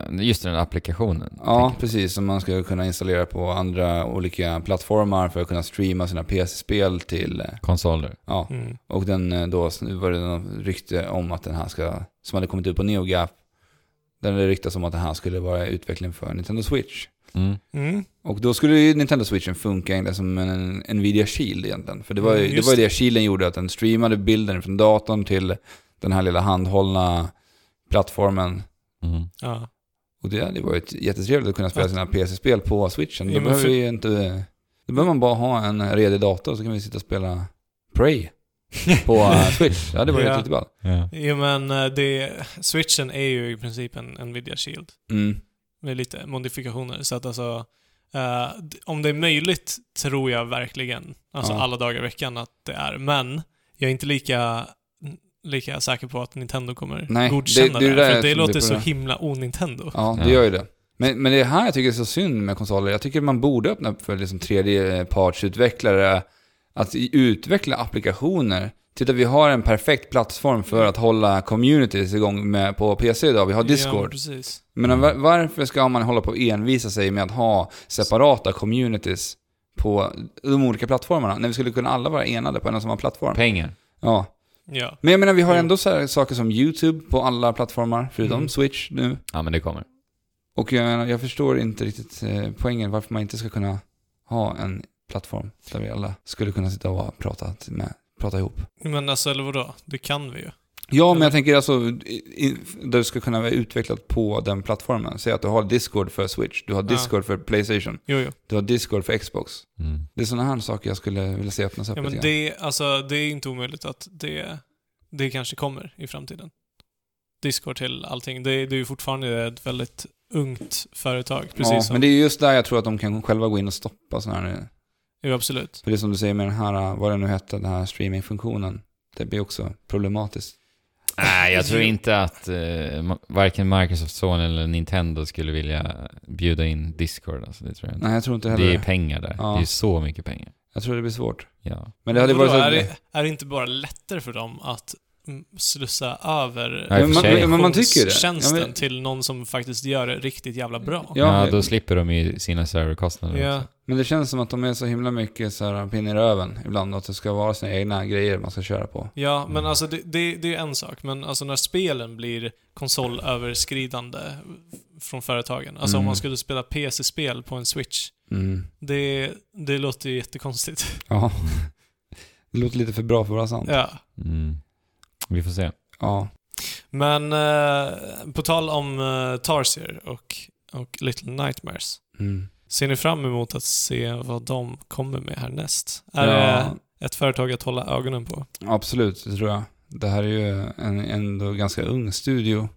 Eh, just den applikationen. Ja, tänker precis. Som man ska kunna installera på andra olika plattformar för att kunna streama sina PC-spel till... eh, jag. Konsoler. Ja, Mm. och den eh, då nu var det något rykte om att den här ska... Som hade kommit ut på NeoGaf. Där det ryktas om att den här skulle vara utvecklingen för Nintendo Switch. Mm. Mm. Och då skulle ju Nintendo Switchen funka egentligen som en Nvidia Shield egentligen. För det var ju Mm, det, just var ju det Shielden gjorde, att den streamade bilden från datorn till den här lilla handhållna plattformen. Mm. Ja. Och det hade ju varit jättetrevligt att kunna spela Ja. sina PC-spel på Switchen. Då Ja, men behöver för- vi ju inte... Då behöver man bara ha en redig dator så kan vi sitta och spela Prey. på eh, Switch. Ja, det var ju Ja. riktigt ballt. Ja. Jo men eh, det, switchen är ju i princip en Nvidia Shield Mm. med lite modifikationer. Så att alltså, eh, d- om det är möjligt tror jag verkligen, alltså Ja. alla dagar i veckan att det är. Men jag är inte lika, lika säker på att Nintendo kommer Nej, det- godkänna det det. är det för jag att det funderar låter på så det. himla o-Nintendo. Ja, det Ja. gör ju det. Men, men det är här jag tycker det är så synd med konsoler. Jag tycker man borde öppna upp för liksom tredjepartsutvecklare att i- utveckla applikationer. Titta, vi har en perfekt plattform för att hålla communities igång med på PC idag. Vi har Ja, Discord. precis. Men var, varför ska man hålla på och envisa sig med att ha separata communities på de olika plattformarna? När vi skulle kunna alla vara enade på en och samma plattform. Pengar. Ja. Ja. Men jag menar, vi har Mm. ändå så här saker som YouTube på alla plattformar, förutom Mm. Switch nu. Ja, men det kommer. Och jag, menar, jag förstår inte riktigt eh, poängen varför man inte ska kunna ha en plattform där vi alla skulle kunna sitta och prata, med, prata ihop. Men alltså, eller vadå? Det kan vi ju. Ja, men jag tänker alltså, i- i- där du ska kunna vara utvecklat på den plattformen. Säg att du har Discord för Switch, du har Ja. Discord för Playstation, Jo, jo. du har Discord för Xbox. Mm. Det är sådana här saker jag skulle vilja se öppnas upp Ja, men lite grann. det, alltså, det är inte omöjligt att det, det kanske kommer i framtiden. Discord till allting. Det, det är ju fortfarande ett väldigt ungt företag. Precis ja, som... men det är just där jag tror att de kan själva gå in och stoppa sådana här... Jo, absolut. För det är som du säger med den här, vad det nu hette, den här streamingfunktionen. Det blir också problematiskt. Nej, jag tror inte att eh, ma- varken Microsoft, Sony eller Nintendo skulle vilja bjuda in Discord. Alltså, det tror jag inte. Nej, jag tror inte heller Det är det. pengar där. Ja. Det är ju så mycket pengar. Jag tror det blir svårt. Ja. Men det hade Vadå, varit så... är, det, är det inte bara lättare för dem att mm, slussa över Ja, i och för sig. Men man tycker ju det. tjänsten Ja, men- till någon som faktiskt gör det riktigt jävla bra. Ja, Ja, men- då slipper de ju sina serverkostnader Ja. också. Men det känns som att de är så himla mycket så här pinne i röven ibland. Att det ska vara sina egna grejer man ska köra på. Ja, men Mm. alltså det, det, det är en sak. Men alltså när spelen blir konsolöverskridande från företagen. Alltså om Mm. man skulle spela PC-spel på en Switch. Mm. Det, det låter ju jättekonstigt. Ja. Det låter lite för bra för att vara sant. ja. Mm. Vi får se. Ja. Men eh, på tal om eh, Tarsier och, och Little Nightmares. Mm. Ser ni fram emot att se vad de kommer med härnäst? Är ja. det ett företag att hålla ögonen på? Absolut, det tror jag. Det här är ju en ändå ganska ung studio.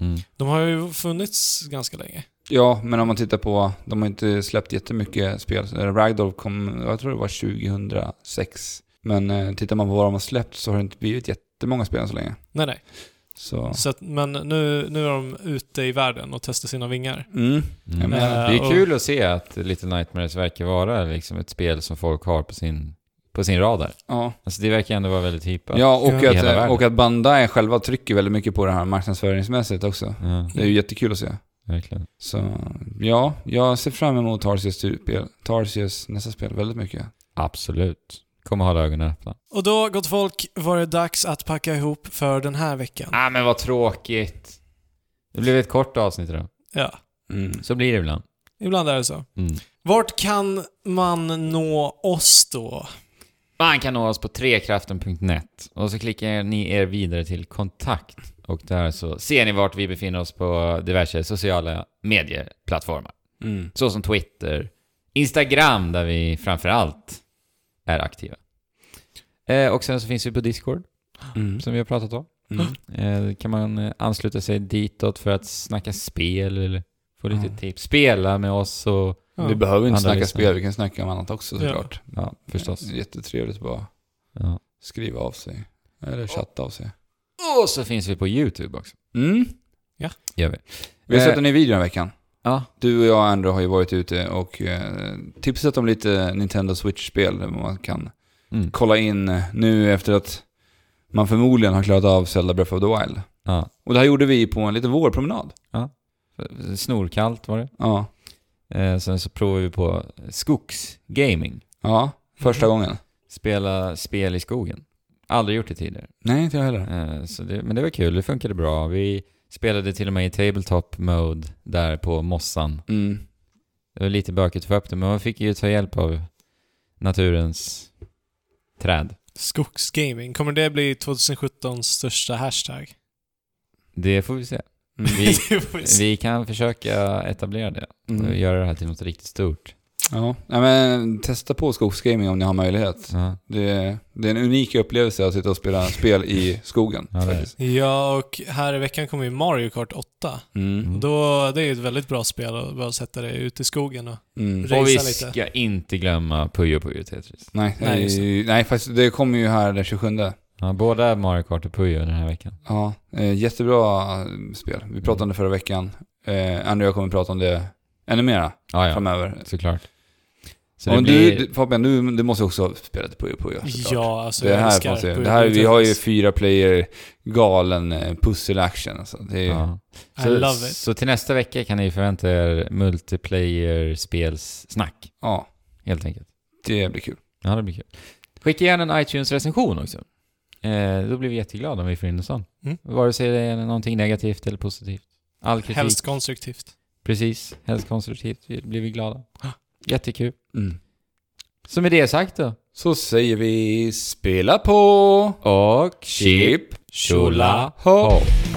Mm. De har ju funnits ganska länge. Ja, men om man tittar på, de har inte släppt jättemycket spel. Ragdoll kom, jag tror det var 2006. Men eh, tittar man på vad de har släppt så har det inte blivit jättemånga spel än så länge. Nej, nej. Så... Så att, men nu, nu är de ute i världen och testar sina vingar. Mm. Mm. men- Det Eh, är och- kul att se att Little Nightmares verkar vara liksom ett spel som folk har på sin, på sin radar. Ja. Alltså det verkar ändå vara väldigt hippat. Ja, och, Ja. I hela Att, världen. och att Bandai själva trycker väldigt mycket på det här marknadsföringsmässigt också. Ja, Det är ju jättekul att se. verkligen. Så ja, jag ser fram emot Tarsius, typ, spel, Tarsius nästa spel väldigt mycket. Absolut. Kommer hålla ögonen öppna. Och då, gott folk, var det dags att packa ihop för den här veckan. Ah, men vad tråkigt. Det blev ett kort avsnitt idag. Ja, Mm. Så blir det ibland. ibland är det så. Mm. Vart kan man nå oss då? Man kan nå oss på trekraften.net och så klickar ni er vidare till kontakt och där så ser ni vart vi befinner oss på diverse sociala medieplattformar. Mm. såsom Twitter, Instagram där vi framför allt är aktiva. Eh, och sen så finns vi på Discord Mm. som vi har pratat om. Mm. Eh, kan man eh, ansluta sig ditåt för att snacka spel eller få lite Ja. tips. Spela med oss och Ja. Vi behöver inte Andra snacka listan. spel, vi kan snacka om annat också Ja. såklart. ja, förstås. Det är jättetrevligt att bara Ja. skriva av sig. Eller chatta av sig. Och så finns vi på YouTube också. Mm. Gör vi. Vi har Eh, sett en ny video den här veckan. Ja, Du och jag och Andrew har ju varit ute och eh, tipsat om lite Nintendo Switch-spel där man kan mm. kolla in eh, nu efter att man förmodligen har klarat av Zelda Breath of the Wild. ja. Och det här gjorde vi på en liten vårpromenad. Snorkallt var det. Ja. Eh, sen så provar vi på skogsgaming. Ja, första Mm. gången. Spela spel i skogen. Aldrig gjort det tidigare. Nej, inte jag heller. Eh, Så det, men det var kul, det funkade bra. Vi spelade till och med i tabletop mode där på mossan. Mm. Det var lite bökigt för upp det, men man fick ju ta hjälp av naturens träd. Skogsgaming. Kommer det bli 2017s största hashtag? Det får vi se. Vi, Det får vi se. vi kan försöka etablera det och Mm. göra det här till något riktigt stort. Ja, Nej, men testa på skogsgaming om ni har möjlighet. Ja, Det är, det är en unik upplevelse att sitta och spela spel i skogen. Ja, det är det. faktiskt. Ja, och här i veckan kommer ju Mario Kart 8. Mm. Och Då, det är ju ett väldigt bra spel att bara sätta dig ute i skogen och... Mm. Resa Och vi lite. ska inte glömma Puyo Puyo Tetris. Nej, Nej, just nej, nej, faktiskt, det kommer ju här den 27. Ja, båda Mario Kart och Puyo den här veckan. Ja, eh, jättebra eh, spel. Vi pratade om det förra veckan. Eh, Andrew och jag kommer prata om det ännu mera Ja, ja, framöver. såklart. Så det Och blir... du, du, Fabian, du, du måste också spela ett Puyo Puyo såklart. Ja, alltså det jag här, älskar måste, jag- Puyo det här, Puyo vi har ju Tetris. fyra player galen eh, pussel action. Alltså. Det är, ja. I så, love it. så till nästa vecka kan ni förvänta er multiplayer-spelssnack, ja, helt enkelt. det blir kul. Ja, det blir kul. Skicka gärna en iTunes-recension också. Eh, då blir vi jätteglada om vi får in en sån. Mm. Vare sig det är någonting negativt eller positivt. All kritik, Helst konstruktivt. precis, helst konstruktivt, vi- blir vi glada. Ah. Jättekul. Mm. Så med det sagt då. Så säger vi spela på Och Chip Chula Hopp. Hopp.